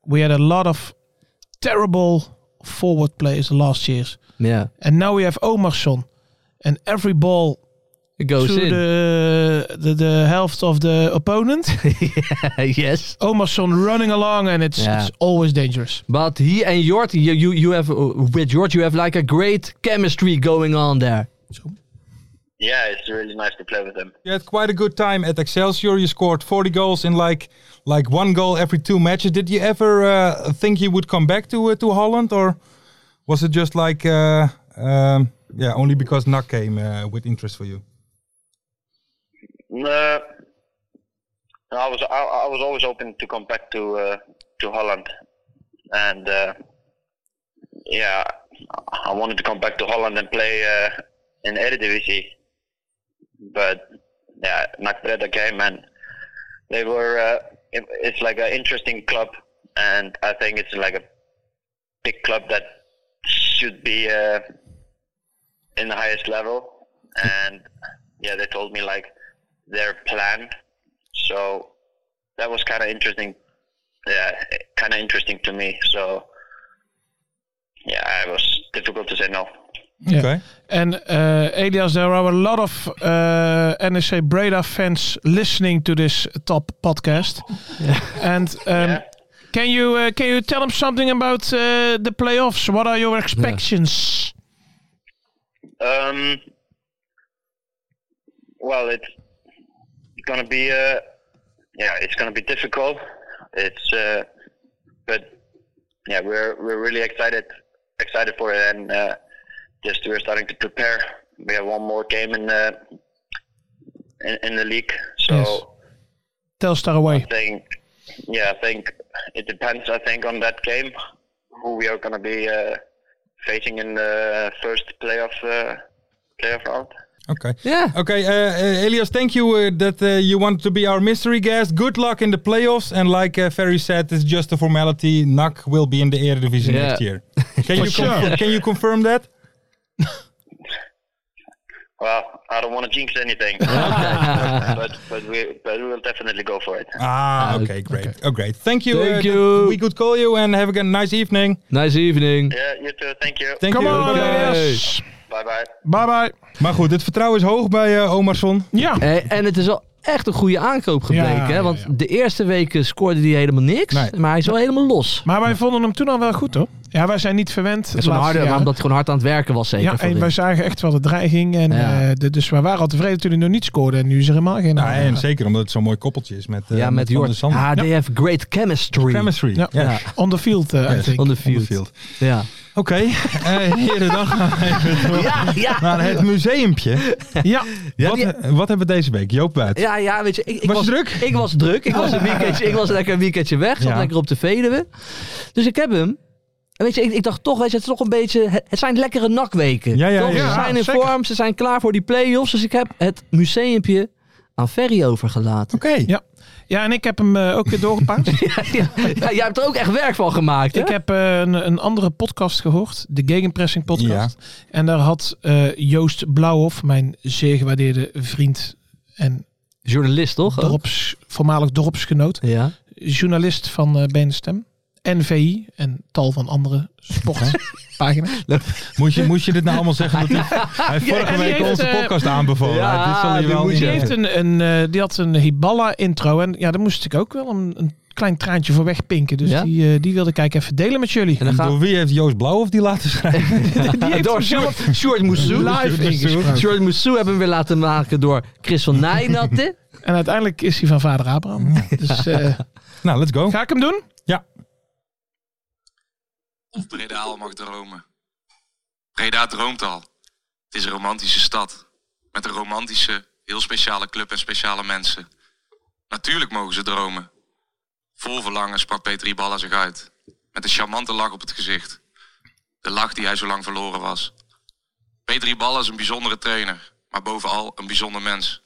S5: we had a lot of terrible forward players the last years.
S4: Yeah.
S5: And now we have Omarsson. And every ball
S4: It goes
S5: to
S4: in.
S5: the, the the helft of the opponent.
S4: yes.
S5: Omarsson running along, and it's
S4: Yeah.
S5: it's always dangerous.
S4: But he and Jort, you, you, you have, uh, with Jort, you have like a great chemistry going on there.
S8: yeah, it's really nice to play with them.
S3: You had quite a good time at Excelsior. You scored 40 goals in like like one goal every two matches. Did you ever uh, think you would come back to uh, to Holland, or was it just like uh, um, yeah, only because Nak came uh, with interest for you?
S8: No, I was I, I was always open to come back to uh, to Holland, and uh, yeah, I wanted to come back to Holland and play uh, in Eredivisie, but yeah, NAC Breda came and they were uh, it, it's like an interesting club, and I think it's like a big club that should be uh, in the highest level, and yeah, they told me like their plan. So that was kind of interesting. Yeah, kind of interesting to me. So yeah, it was difficult to say no.
S5: Yeah.
S3: Okay.
S5: And uh, Elias, there are a lot of uh, NSC Breda fans listening to this top podcast. And um, can you uh, can you tell them something about uh, the playoffs? What are your expectations?
S8: Um, well, it's gonna be uh, yeah, it's gonna be difficult. It's uh, but yeah, we're we're really excited excited for it, and uh, just we're starting to prepare. We have one more game in the in, in the league, so.
S5: Yes. Telstar away.
S8: think, yeah, I think it depends. I think on that game, who we are going to be uh, facing in the first playoff uh, playoff round.
S3: Okay.
S4: Yeah.
S3: Okay, uh, uh, Elias, thank you uh, that uh, you wanted to be our mystery guest. Good luck in the playoffs. And like uh, Ferry said, it's just a formality. NAC will be in the Eredivisie
S4: Yeah.
S3: next year. Can you, confirm, can you confirm that?
S8: Well, I don't want to jinx anything, but but we but we will definitely go for it.
S3: Ah, okay, great. Oh, great. Thank you.
S4: Thank
S3: that
S4: you.
S3: We could call you and have a good- nice evening.
S4: Nice evening.
S8: Yeah, you too. Thank you.
S3: Thank
S5: Come
S3: you.
S5: on,
S3: Bye-bye.
S5: Elias.
S8: Bye bye.
S5: Bye bye.
S3: Maar goed, het vertrouwen is hoog bij eh, Omarsson.
S5: Ja.
S4: Eh, en het is wel echt een goede aankoop gebleken.
S5: Ja,
S4: hè?
S5: ja,
S4: Want
S5: ja.
S4: de eerste weken scoorde hij helemaal niks.
S3: Nee.
S4: Maar hij is wel helemaal los.
S5: Maar wij vonden hem toen al wel goed hoor. Ja, wij zijn niet verwend.
S4: Dat
S5: Het
S4: is wel harder, maar omdat hij gewoon hard aan het werken was zeker.
S5: ja,
S4: van
S5: en
S4: dit.
S5: wij zagen echt wel de dreiging. En,
S4: Ja.
S5: eh, de- dus wij waren al tevreden toen hij nog niet scoorde. En nu is er helemaal geen
S3: Nou, en
S5: Ja.
S3: zeker omdat het zo'n mooi koppeltje is met, eh
S4: ja, met
S3: Van der
S4: Jort.
S3: Sande.
S4: Ah, they have great chemistry.
S3: Chemistry.
S5: Ja.
S3: Ja.
S5: On the field, eh, I
S3: Yes.
S5: think.
S4: On the field.
S3: field.
S4: Ja.
S3: Oké, eh, heren, dan gaan we even door
S4: Ja, ja.
S3: naar het museumpje.
S5: Ja,
S3: wat, eh,
S4: die-
S3: wat hebben we deze week? Joop Buit.
S4: Ja, ja, weet je, ik, ik
S3: Was je druk?
S4: Ik was druk. Ik was, een weekendje, ik was lekker een weekendje weg. Zat
S3: Ja.
S4: lekker op de Veluwe. Dus ik heb hem. En weet je, ik, ik dacht toch, weet je, het is toch een beetje... Het, het zijn lekkere nakweken.
S3: Ja, ja,
S4: toch?
S3: ja,
S4: ze zijn in
S5: zeker.
S4: vorm, ze zijn klaar voor die play-offs. Dus ik heb het museumpje aan Ferry overgelaten.
S3: Oké.
S5: ja, en ik heb hem eh, ook weer doorgepaard.
S4: ja, ja, jij hebt er ook echt werk van gemaakt, hè?
S5: Ik heb eh, een, een andere podcast gehoord, de Gegenpressing podcast. En daar had eh, Joost Blauwhof, mijn zeer gewaardeerde vriend en
S4: Journalist, toch? ook?
S5: dorps, voormalig dorpsgenoot,
S4: Ja.
S5: journalist van eh Benenstem, NVI en tal van andere sportpagina's.
S3: Moest, je, moest je dit nou allemaal zeggen? Dat hij, hij heeft vorige
S5: en die
S3: week
S5: heeft,
S3: onze
S5: eh,
S3: podcast aanbevolen.
S4: ja,
S3: dit zal je
S4: die
S3: wel
S4: moet
S5: Die,
S4: je
S3: niet-
S5: heeft een, een, eh, die had een Hiballa intro en ja, daar moest ik ook wel een, een klein traantje voor wegpinken. Dus
S4: Ja?
S5: die, eh, die wilde ik eigenlijk even delen met jullie.
S4: En dan gaan
S3: Door wie heeft Joost Blauw of die laten schrijven?
S4: die heeft door Sjoerd, Sjoerd Moussou.
S5: Live ingesproken.
S4: Sjoerd Moussou hebben we weer laten maken door Chris van Nijnatten.
S5: En uiteindelijk is hij van vader Abraham. Dus eh,
S3: nou, let's go.
S5: ga ik hem doen?
S9: of Breda al mag dromen. Breda droomt al. Het is een romantische stad. Met een romantische, heel speciale club en speciale mensen. Natuurlijk mogen ze dromen. Vol verlangen sprak Petri Balla zich uit. Met een charmante lach op het gezicht. De lach die hij zo lang verloren was. Petri Balla is een bijzondere trainer, maar bovenal een bijzonder mens.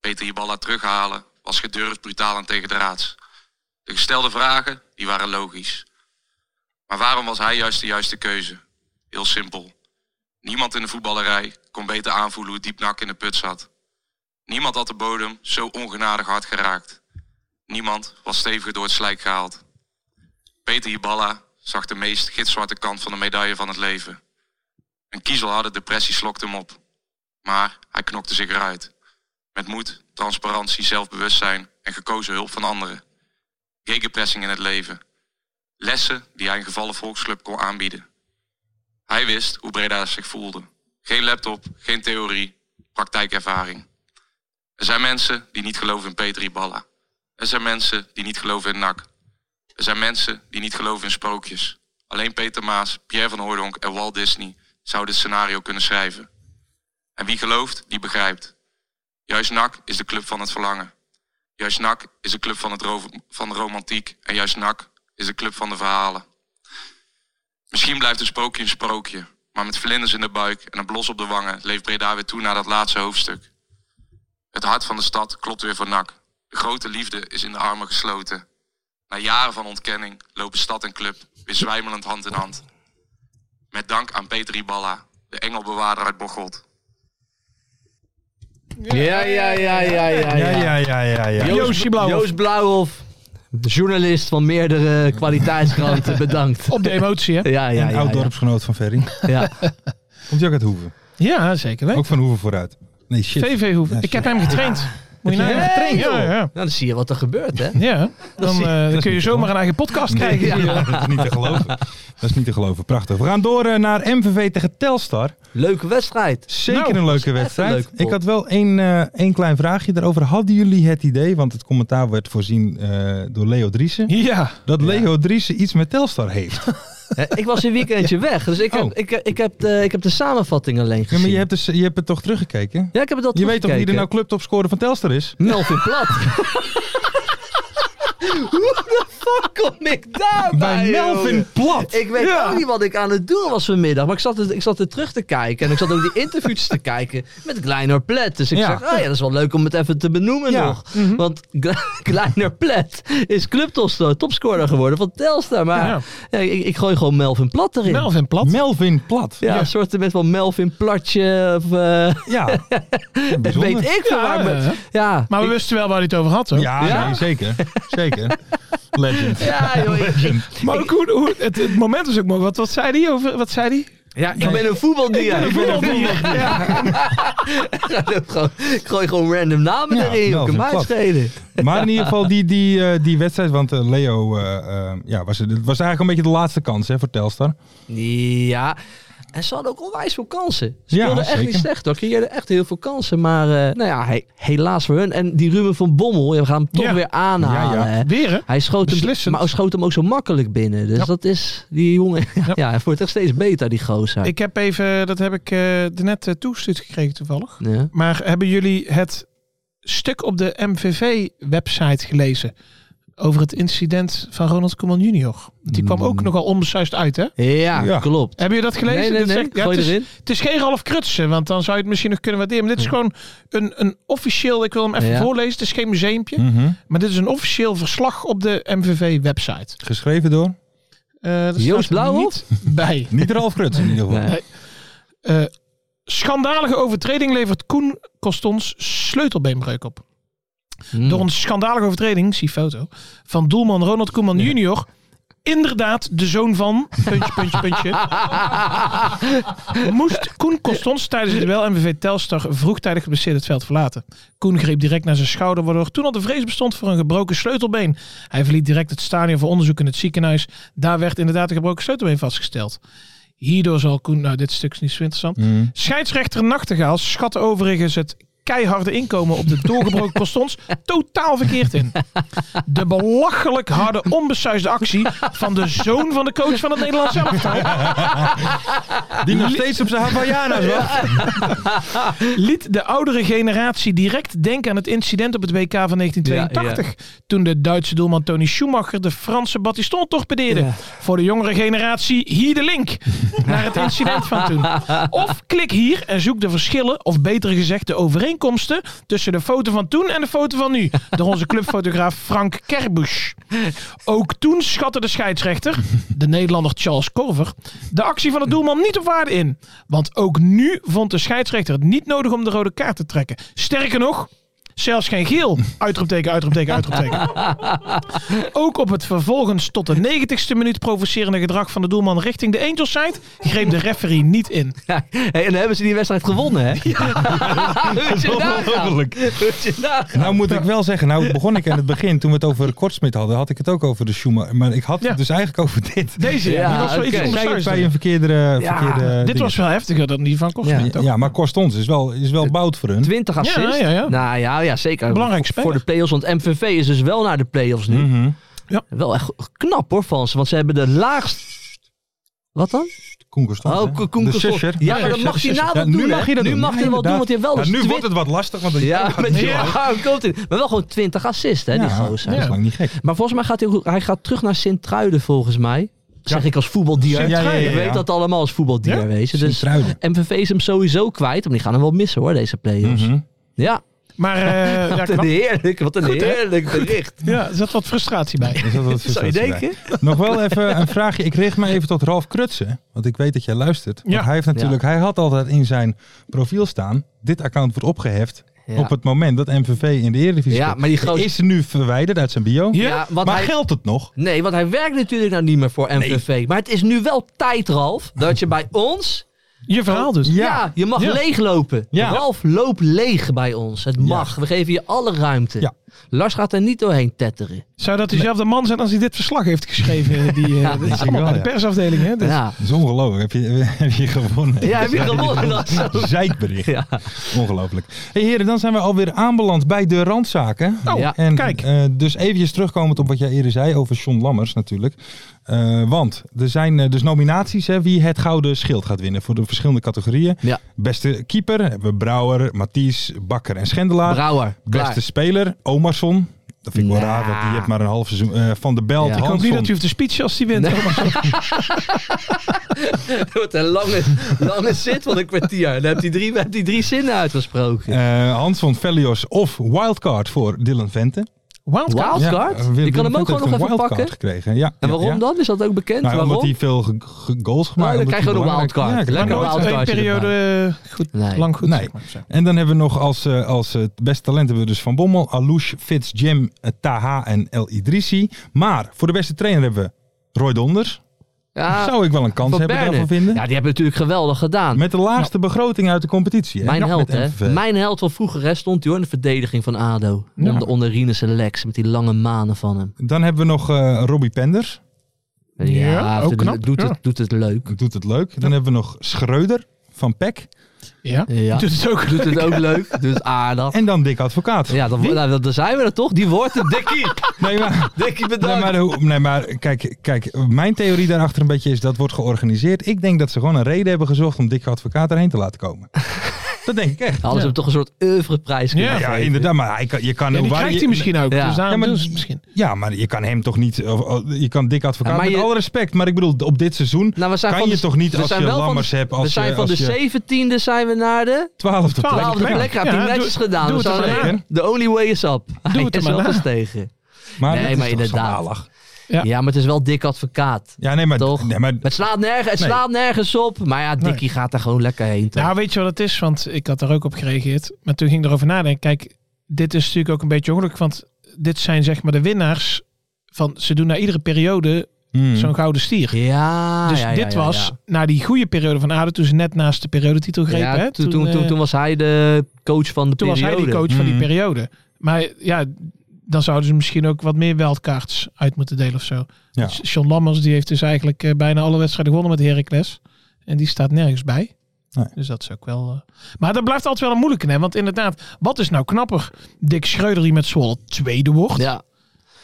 S9: Petri Balla terughalen was gedurfd, brutaal en tegendraads. De gestelde vragen, die waren logisch. Maar waarom was hij juist de juiste keuze? Heel simpel. Niemand in de voetballerij kon beter aanvoelen hoe diep Nak in de put zat. Niemand had de bodem zo ongenadig hard geraakt. Niemand was steviger door het slijk gehaald. Peter Hiballa zag de meest gitzwarte kant van de medaille van het leven. Een kiezelharde depressie slokte hem op. Maar hij knokte zich eruit. Met moed, transparantie, zelfbewustzijn en gekozen hulp van anderen. Gegenpressing in het leven lessen die hij een gevallen volksclub kon aanbieden. Hij wist hoe Breda zich voelde. Geen laptop, geen theorie, praktijkervaring. Er zijn mensen die niet geloven in Petri Balla. Er zijn mensen die niet geloven in NAC. Er zijn mensen die niet geloven in sprookjes. Alleen Peter Maas, Pierre van Hooydonk en Walt Disney zouden dit scenario kunnen schrijven. En wie gelooft, die begrijpt. Juist NAC is de club van het verlangen. Juist NAC is de club van, het ro- van de romantiek. En juist NAC is de club van de verhalen. Misschien blijft een sprookje een sprookje. Maar met vlinders in de buik en een blos op de wangen... leeft Breda weer toe naar dat laatste hoofdstuk. Het hart van de stad klopt weer voor NAC. De grote liefde is in de armen gesloten. Na jaren van ontkenning lopen stad en club weer zwijmelend hand in hand. Met dank aan Peter Iballa, de engelbewaarder uit Bocholt.
S4: Ja, ja, ja, ja, ja.
S3: Ja, ja, ja, ja. ja.
S5: Joosje Blauwhof.
S4: Joost Blauwhof, journalist van meerdere kwaliteitskranten, bedankt.
S5: Op de emotie, hè?
S4: Ja, ja,
S3: Een
S4: ja.
S3: oud
S4: ja,
S3: dorpsgenoot van Ferry.
S4: ja.
S3: Komt hij ook uit Hoeven?
S5: Ja, zeker. Hè?
S3: Ook van Hoeven vooruit. Nee, shit.
S5: VV Hoeven.
S3: Ja,
S5: ik heb hem getraind. Moet je
S3: Heb je
S5: nagaan.
S3: hem getraind,
S5: Ja,
S3: joh?
S5: ja.
S4: Nou, dan zie je wat er gebeurt, hè?
S5: ja. Dan,
S4: zie-
S5: eh, dan kun je zomaar een eigen podcast krijgen.
S3: Ja, dat is niet te geloven. Dat is niet te geloven. Prachtig. We gaan door eh, naar MVV tegen Telstar.
S4: Leuke wedstrijd.
S3: Zeker
S5: Nou,
S3: een leuke
S4: een
S3: wedstrijd.
S4: leuke pot.
S3: ik had wel één, eh, één klein vraagje daarover. Hadden jullie het idee, want het commentaar werd voorzien eh, door Leo Driessen,
S5: Ja.
S3: dat Leo Driessen iets met Telstar heeft?
S4: Hè, Ik was een weekendje weg, dus ik heb,
S3: Oh.
S4: ik, ik, heb de, ik heb de samenvatting alleen
S3: Ja,
S4: gezien.
S3: maar je hebt, dus, je hebt het toch teruggekeken?
S4: Ja, ik heb het al
S3: Je weet toch wie er
S4: teruggekeken.
S3: nou clubtopscorer van Telstar is?
S4: Melvin Plat. Hoe de fuck kom ik daarbij?
S3: Bij Melvin
S4: jongen?
S3: Plat.
S4: Ik weet ook niet wat ik aan het doen was vanmiddag. Maar ik zat, er, ik zat er terug te kijken. En ik zat ook die interviews te kijken met Kleiner Plet. Dus ik
S3: Ja.
S4: zeg, oh ja, dat is wel leuk om het even te benoemen
S3: Ja.
S4: nog. Want Kleiner Plet is clubtopscorer topscorer geworden van Telstar. Maar
S5: Ja.
S4: ja, ik, ik gooi gewoon Melvin Plat erin.
S5: Melvin Plat.
S3: Melvin Plat.
S4: ja, een soort met van Melvin Platje of eh,
S3: Ja. Bijzonder.
S4: weet ik veel
S5: Ja,
S4: waar ik ben-
S5: ja, ja.
S4: Ja,
S5: Maar we wisten wel waar hij het over had, hoor.
S3: Ja,
S4: Ja?
S3: nee, zeker. Zeker. Legend.
S4: ja, joh, ik-
S5: Maar ook hoe, hoe- het, het moment was ook mooi. Wat, wat zei hij over? Wat zei hij?
S4: Ja, ik ben een voetbaldier. Ik, gewoon- ik gooi gewoon random namen
S3: Ja,
S4: erin. joh. Ik
S3: Melvin
S4: kan mij het
S3: Plat.
S4: schelen.
S3: Maar in ieder geval die, die, eh, die wedstrijd, want eh, Leo eh, eh, ja, was, het was eigenlijk een beetje de laatste kans hè, voor Telstar.
S4: Ja. En ze hadden ook onwijs veel kansen. Ze
S3: Ja,
S4: speelden echt
S3: zeker.
S4: niet slecht hoor. Creëerden echt heel veel kansen. Maar eh, nou ja, he- helaas voor hun. En die Ruben van Bommel, ja, we gaan hem toch
S5: Ja.
S4: weer aanhalen.
S3: Ja, ja.
S4: hè.
S5: Weer, hè?
S4: Hij schoot hem,
S5: Beslissend.
S4: maar hij schoot hem ook zo makkelijk binnen. Dus
S5: Ja.
S4: dat is, die jongen, ja,
S5: Ja.
S4: hij wordt echt steeds beter die gozer.
S5: Ik heb even, dat heb ik eh net eh, toegestuurd gekregen toevallig.
S4: ja.
S5: Maar hebben jullie het stuk op de MVV-website gelezen? Over het incident van Ronald Koeman junior. Die kwam ook nogal onbesuist uit, hè?
S4: Ja,
S3: Ja.
S4: klopt.
S5: Hebben jullie dat gelezen?
S4: Mm. Nee, nee,
S5: Dit
S4: nee.
S5: zegt- ja,
S4: Gooi
S5: het, is,
S4: erin.
S5: het is geen Ralf Krutsen, want dan zou je het misschien nog kunnen waarderen. Maar dit is gewoon een, een officieel, ik wil hem even
S4: Ja. Hm.
S5: voorlezen. Het is geen museumpje,
S3: Mhm.
S5: maar dit is een officieel verslag op de MVV-website.
S3: Geschreven door
S5: Eh dat
S4: Joost
S5: staat er
S4: Blauwhof?
S5: niet bij.
S3: niet Ralf Ruts in ieder geval.
S4: Nee.
S5: Eh, schandalige overtreding levert Koen Kostons sleutelbeenbreuk op.
S4: Hmm.
S5: Door een schandalige overtreding, zie foto, van doelman Ronald Koeman junior... Inderdaad, de zoon van... Puntje, puntje, puntje. moest Koen Constons tijdens het duel MVV Telstar vroegtijdig geblesseerd het veld verlaten. Koen greep direct naar zijn schouder, waardoor toen al de vrees bestond voor een gebroken sleutelbeen. Hij verliet direct het stadion voor onderzoek in het ziekenhuis. Daar werd inderdaad een gebroken sleutelbeen vastgesteld. Hierdoor zal Koen... Nou, dit stuk is niet zo interessant.
S3: Mhm.
S5: Scheidsrechter Nachtegaal schat overigens het keiharde inkomen op de doorgebroken postons totaal verkeerd in. De belachelijk harde, onbesuisde actie van de zoon van de coach van het Nederlands elftal
S3: Die nog steeds op zijn Havaianas wacht.
S5: liet de oudere generatie direct denken aan het incident op het WK van 1982. Toen de Duitse doelman Tony Schumacher de Franse Battiston torpedeerde.
S4: Ja.
S5: Voor de jongere generatie hier de link naar het incident van toen. Of klik hier en zoek de verschillen, of beter gezegd de overeenkomsten... tussen de foto van toen en de foto van nu. Door onze clubfotograaf Frank Kerbusch. Ook toen schatte de scheidsrechter, de Nederlander Charles Korver, de actie van de doelman niet op waarde in. Want ook nu vond de scheidsrechter het niet nodig om de rode kaart te trekken. Sterker nog, zelfs geen geel. Uitroepteken, uitroepteken, uitroepteken. Ook op het vervolgens tot de 90ste minuut provocerende gedrag van de doelman richting de Angels side greep de referee niet in.
S4: Ja, hey, en dan hebben ze die wedstrijd gewonnen, hè? Moet je nagaan. Moet je nagaan.
S3: Nou moet ik wel zeggen, nou begon ik aan het begin, toen we het over Kortsmit hadden, had ik het ook over de Schumacher. Maar ik had
S5: Ja.
S3: het dus eigenlijk over dit.
S5: Deze, ja,
S4: Ja,
S5: die was wel
S4: oké.
S5: iets
S3: Zij het
S5: onbesuisder.
S3: bij een verkeerde... eh,
S4: Ja,
S3: verkeerde
S5: Dit
S3: ding.
S5: was wel heftiger dan die van Kosten.
S4: Ja.
S5: toch?
S3: Ja, maar Korstons is wel, is wel bout voor hun.
S4: 20 assists.
S5: Ja, ja, ja.
S4: Nou ja, ja zeker.
S5: Belangrijk
S4: Voor-
S5: speler.
S4: Voor de play-offs, want MVV is dus wel naar de play-offs nu.
S3: Mhm.
S4: Wel echt knap hoor van ze, want ze hebben de laagst... Wat dan?
S3: Koen Korstons,
S4: Oh,
S3: hè?
S4: Ko- Koen
S3: De
S4: Kostel.
S3: zusje.
S4: Ja, maar dan mag hij na
S3: Ja,
S4: wel doen.
S3: nu mag
S4: hè?
S3: je dat
S4: nu
S3: doen.
S4: mag hij
S3: Ja,
S4: wel doen,
S3: inderdaad.
S4: want hij heeft wel
S3: Ja,
S4: dus
S3: nu
S4: twi-
S3: wordt het wat lastig, want
S4: Ja, met die ja. komt in. Maar wel gewoon 20 assists, hè, die
S3: Ja,
S4: gozer.
S3: Dat is lang niet gek.
S4: Maar volgens mij gaat hij, ook- hij gaat terug naar Sint-Truiden, volgens mij. Zeg ik als voetbaldier.
S3: Sint-Truiden, ja, ja,
S4: Ik
S3: ja.
S4: weet dat allemaal als voetbaldier,
S5: Ja?
S4: weet je. Dus
S3: Sint-Truiden.
S4: MVV is hem sowieso kwijt, maar die gaan hem wel missen hoor, deze play-offs.
S3: Mhm.
S4: Ja,
S5: Maar eh, ja,
S4: wat een
S5: knap.
S4: heerlijk, wat een heerlijk bericht.
S5: ja, er zat wat frustratie bij.
S3: Er zat wat
S4: Zou je
S3: frustratie bij.
S4: denken?
S3: Nog wel even een vraagje. Ik richt me even tot Ralf Krutsen. Want ik weet dat jij luistert. Want
S5: Ja.
S3: Hij, heeft natuurlijk, hij had altijd in zijn profiel staan. Dit account wordt opgeheft.
S4: Ja.
S3: Op het moment dat MVV in de Eredivisie
S4: Ja,
S3: komt.
S4: maar die gozer-
S3: is nu verwijderd uit zijn bio.
S4: Ja, want
S3: maar
S4: hij-
S3: geldt het nog?
S4: Nee, want hij werkt natuurlijk nou niet meer voor MVV. Maar het is nu wel tijd, Ralf, dat je bij ons...
S5: Je verhaal dus.
S4: Ja, je mag
S5: Ja.
S4: leeglopen.
S3: Ja.
S4: Ralf, loop leeg bij ons. Het mag. We geven je alle ruimte.
S3: Ja.
S4: Lars gaat er niet doorheen tetteren.
S5: Zou dat dezelfde man zijn als hij dit verslag heeft geschreven? Die, eh, dat is
S3: denk
S5: allemaal
S3: wel,
S5: bij de
S3: ja.
S5: persafdeling, hè? Dus-
S4: Ja.
S3: Dat is ongelooflijk. Heb je, heb je gewonnen?
S4: Ja, heb je gewonnen, Lars?
S3: Zeikbericht.
S4: Ja.
S3: Ongelooflijk. Hey heren, dan zijn we alweer aanbeland bij de randzaken.
S4: Oh, Ja.
S3: en,
S5: kijk.
S3: eh, dus eventjes terugkomend op wat jij eerder zei over John Lammers natuurlijk. Eh, want er zijn eh, dus nominaties hè, wie het gouden schild gaat winnen voor de verschillende categorieën.
S4: Ja.
S3: Beste keeper hebben we Brouwer, Mathies, Bakker en Schendelaar.
S4: Brouwer, klaar.
S3: Beste speler, Omarsson. Dat vind ik wel raar, want die heeft maar een half seizoen. eh, van de Belt,
S5: Ik hoop niet dat u hoeft te speechen als die wint.
S4: Het wordt een lange, lange zit van een kwartier. Dan heb je drie, heb die drie zinnen uitgesproken.
S3: Eh, Hans van Velios of Wildcard voor Dylan Vente.
S5: Wildcard?
S4: Wildcard?
S3: eh, Willem
S4: je kan hem ook
S3: Vente
S4: gewoon nog even
S3: heeft een wildcard
S4: pakken.
S3: Gekregen. Ja,
S4: En
S3: ja,
S4: waarom
S3: ja.
S4: dan? Is dat ook bekend?
S3: Nou,
S4: waarom? Oh,
S3: omdat hij veel ge- ge- goals gemaakt.
S4: dan
S3: omdat
S4: krijg je
S3: hij
S4: gewoon een
S3: belangrijk-
S4: wildcard.
S3: Ja, ik
S4: Dan
S3: denk
S5: Maar
S4: Lekker
S3: het.
S4: kan-
S5: nooit
S4: wildcardje
S5: twee periode eh, goed,
S4: Nee.
S5: lang goed.
S3: Nee.
S5: zeg maar, zeg.
S3: En dan hebben we nog als, eh, als eh, beste talent hebben we dus Van Bommel, Alouche, Fitz, Jim, eh, Taha en El Idrissi. Maar voor de beste trainer hebben we Roy Donders.
S4: Ja,
S3: Zou ik wel een kans
S4: Ah, van
S3: hebben
S4: Berne.
S3: daarvan vinden.
S4: Ja, die hebben natuurlijk geweldig gedaan.
S3: Met de laagste begroting uit de competitie. hè?
S4: Mijn
S3: Ja,
S4: held,
S3: met
S4: hè?
S3: MVV.
S4: Mijn held van vroeger hè, stond hij hoor in de verdediging van ADO.
S5: Ja.
S4: Onder, onder Rinus en Lex, met die lange manen van hem.
S3: Dan hebben we nog eh Robbie Penders.
S4: Ja,
S5: Ja, ook
S4: het-
S5: knap,
S4: doet,
S5: ja.
S4: het, doet het leuk.
S3: Doet het leuk. Dan hebben we nog Schreuder van Peck.
S5: Ja.
S4: Ja.
S5: Doet het ook
S4: Doet het ook leuk, doet het aardig.
S3: En dan Dick Advocaat.
S4: Ja, dan, nou, dan- dan zijn we er toch. Die wordt het, Dikkie.
S3: Nee, maar,
S4: Dikkie,
S3: nee,
S4: bedankt.
S3: maar, hoe- nee, maar kijk, kijk, mijn theorie daarachter een beetje is dat wordt georganiseerd. Ik denk dat ze gewoon een reden hebben gezocht om Dick Advocaat erheen te laten komen. dat denk ik echt.
S4: Hadden ze hem toch een soort oeuvreprijs kunnen
S5: Ja,
S3: Ja,
S4: geven.
S3: inderdaad. Maar hij kan, je kan
S5: En die
S3: waar-
S5: krijgt
S3: je-
S5: hij misschien ook.
S4: Ja.
S5: Dus daarom
S3: Ja, maar
S5: doen ze
S3: die-
S5: het misschien.
S3: Ja, maar je kan hem toch niet. of- of- je kan dik advocaat.
S4: Ja, maar
S3: met
S4: je-
S3: alle respect, maar ik bedoel, op dit seizoen
S4: Nou, we zijn
S3: kan
S4: van
S3: je
S4: de-
S3: toch niet
S4: we
S3: als
S4: zijn
S3: je
S4: wel van de-
S3: lammers hebt. Als
S4: we zijn
S3: je,
S4: van
S3: als
S4: de
S3: je
S4: 17e zijn we naar de
S3: 12e plek.
S4: 12e
S5: plek.
S4: plek. Hij heeft
S5: Ja,
S4: hij
S5: doe-
S4: netjes gedaan.
S5: doe
S4: Dus
S5: het er
S4: hij-
S5: maar na.
S4: The only way is up. Hij
S5: het er
S4: is
S5: maar
S4: wel
S5: na.
S4: eens tegen.
S3: Maar
S4: Nee,
S3: dat is
S4: maar
S3: toch
S4: inderdaad.
S3: schandalig?
S4: Ja.
S5: Ja.
S4: maar het is wel dik advocaat.
S3: Ja, nee, maar,
S4: Toch?
S3: nee, maar
S4: Het slaat, nergens, het
S3: Nee.
S4: slaat nergens op. Maar ja, Dikkie gaat daar gewoon lekker heen. Toch?
S5: Nou, weet je wat het is? Want ik had daar ook op gereageerd. Maar toen ging ik erover nadenken. Kijk, dit is natuurlijk ook een beetje ongelukkig. Want dit zijn zeg maar de winnaars. Van, ze doen na iedere periode
S3: hmm,
S4: Mhm.
S5: zo'n gouden stier.
S4: ja,
S5: dus
S4: ja, ja,
S5: dit
S4: ja,
S5: was
S4: ja.
S5: na die goede periode van ADO. Toen ze net naast de periodetitel grepen.
S4: Ja,
S5: hè?
S4: toen, toen, toen,
S5: eh,
S4: toen was hij de coach van de
S5: toen was
S4: periode.
S5: hij die coach van die
S3: Mhm.
S5: periode. Maar ja, dan zouden ze misschien ook wat meer wildcards uit moeten delen of zo.
S3: Ja.
S5: Dus John Lammers die heeft dus eigenlijk eh, bijna alle wedstrijden gewonnen met Heracles. En die staat nergens bij.
S3: Nee.
S5: Dus dat is ook wel... eh, Maar dat blijft altijd wel een moeilijke. Hè? Want inderdaad, wat is nou knapper? Dick Schreuder die met Zwolle tweede wordt?
S4: Ja,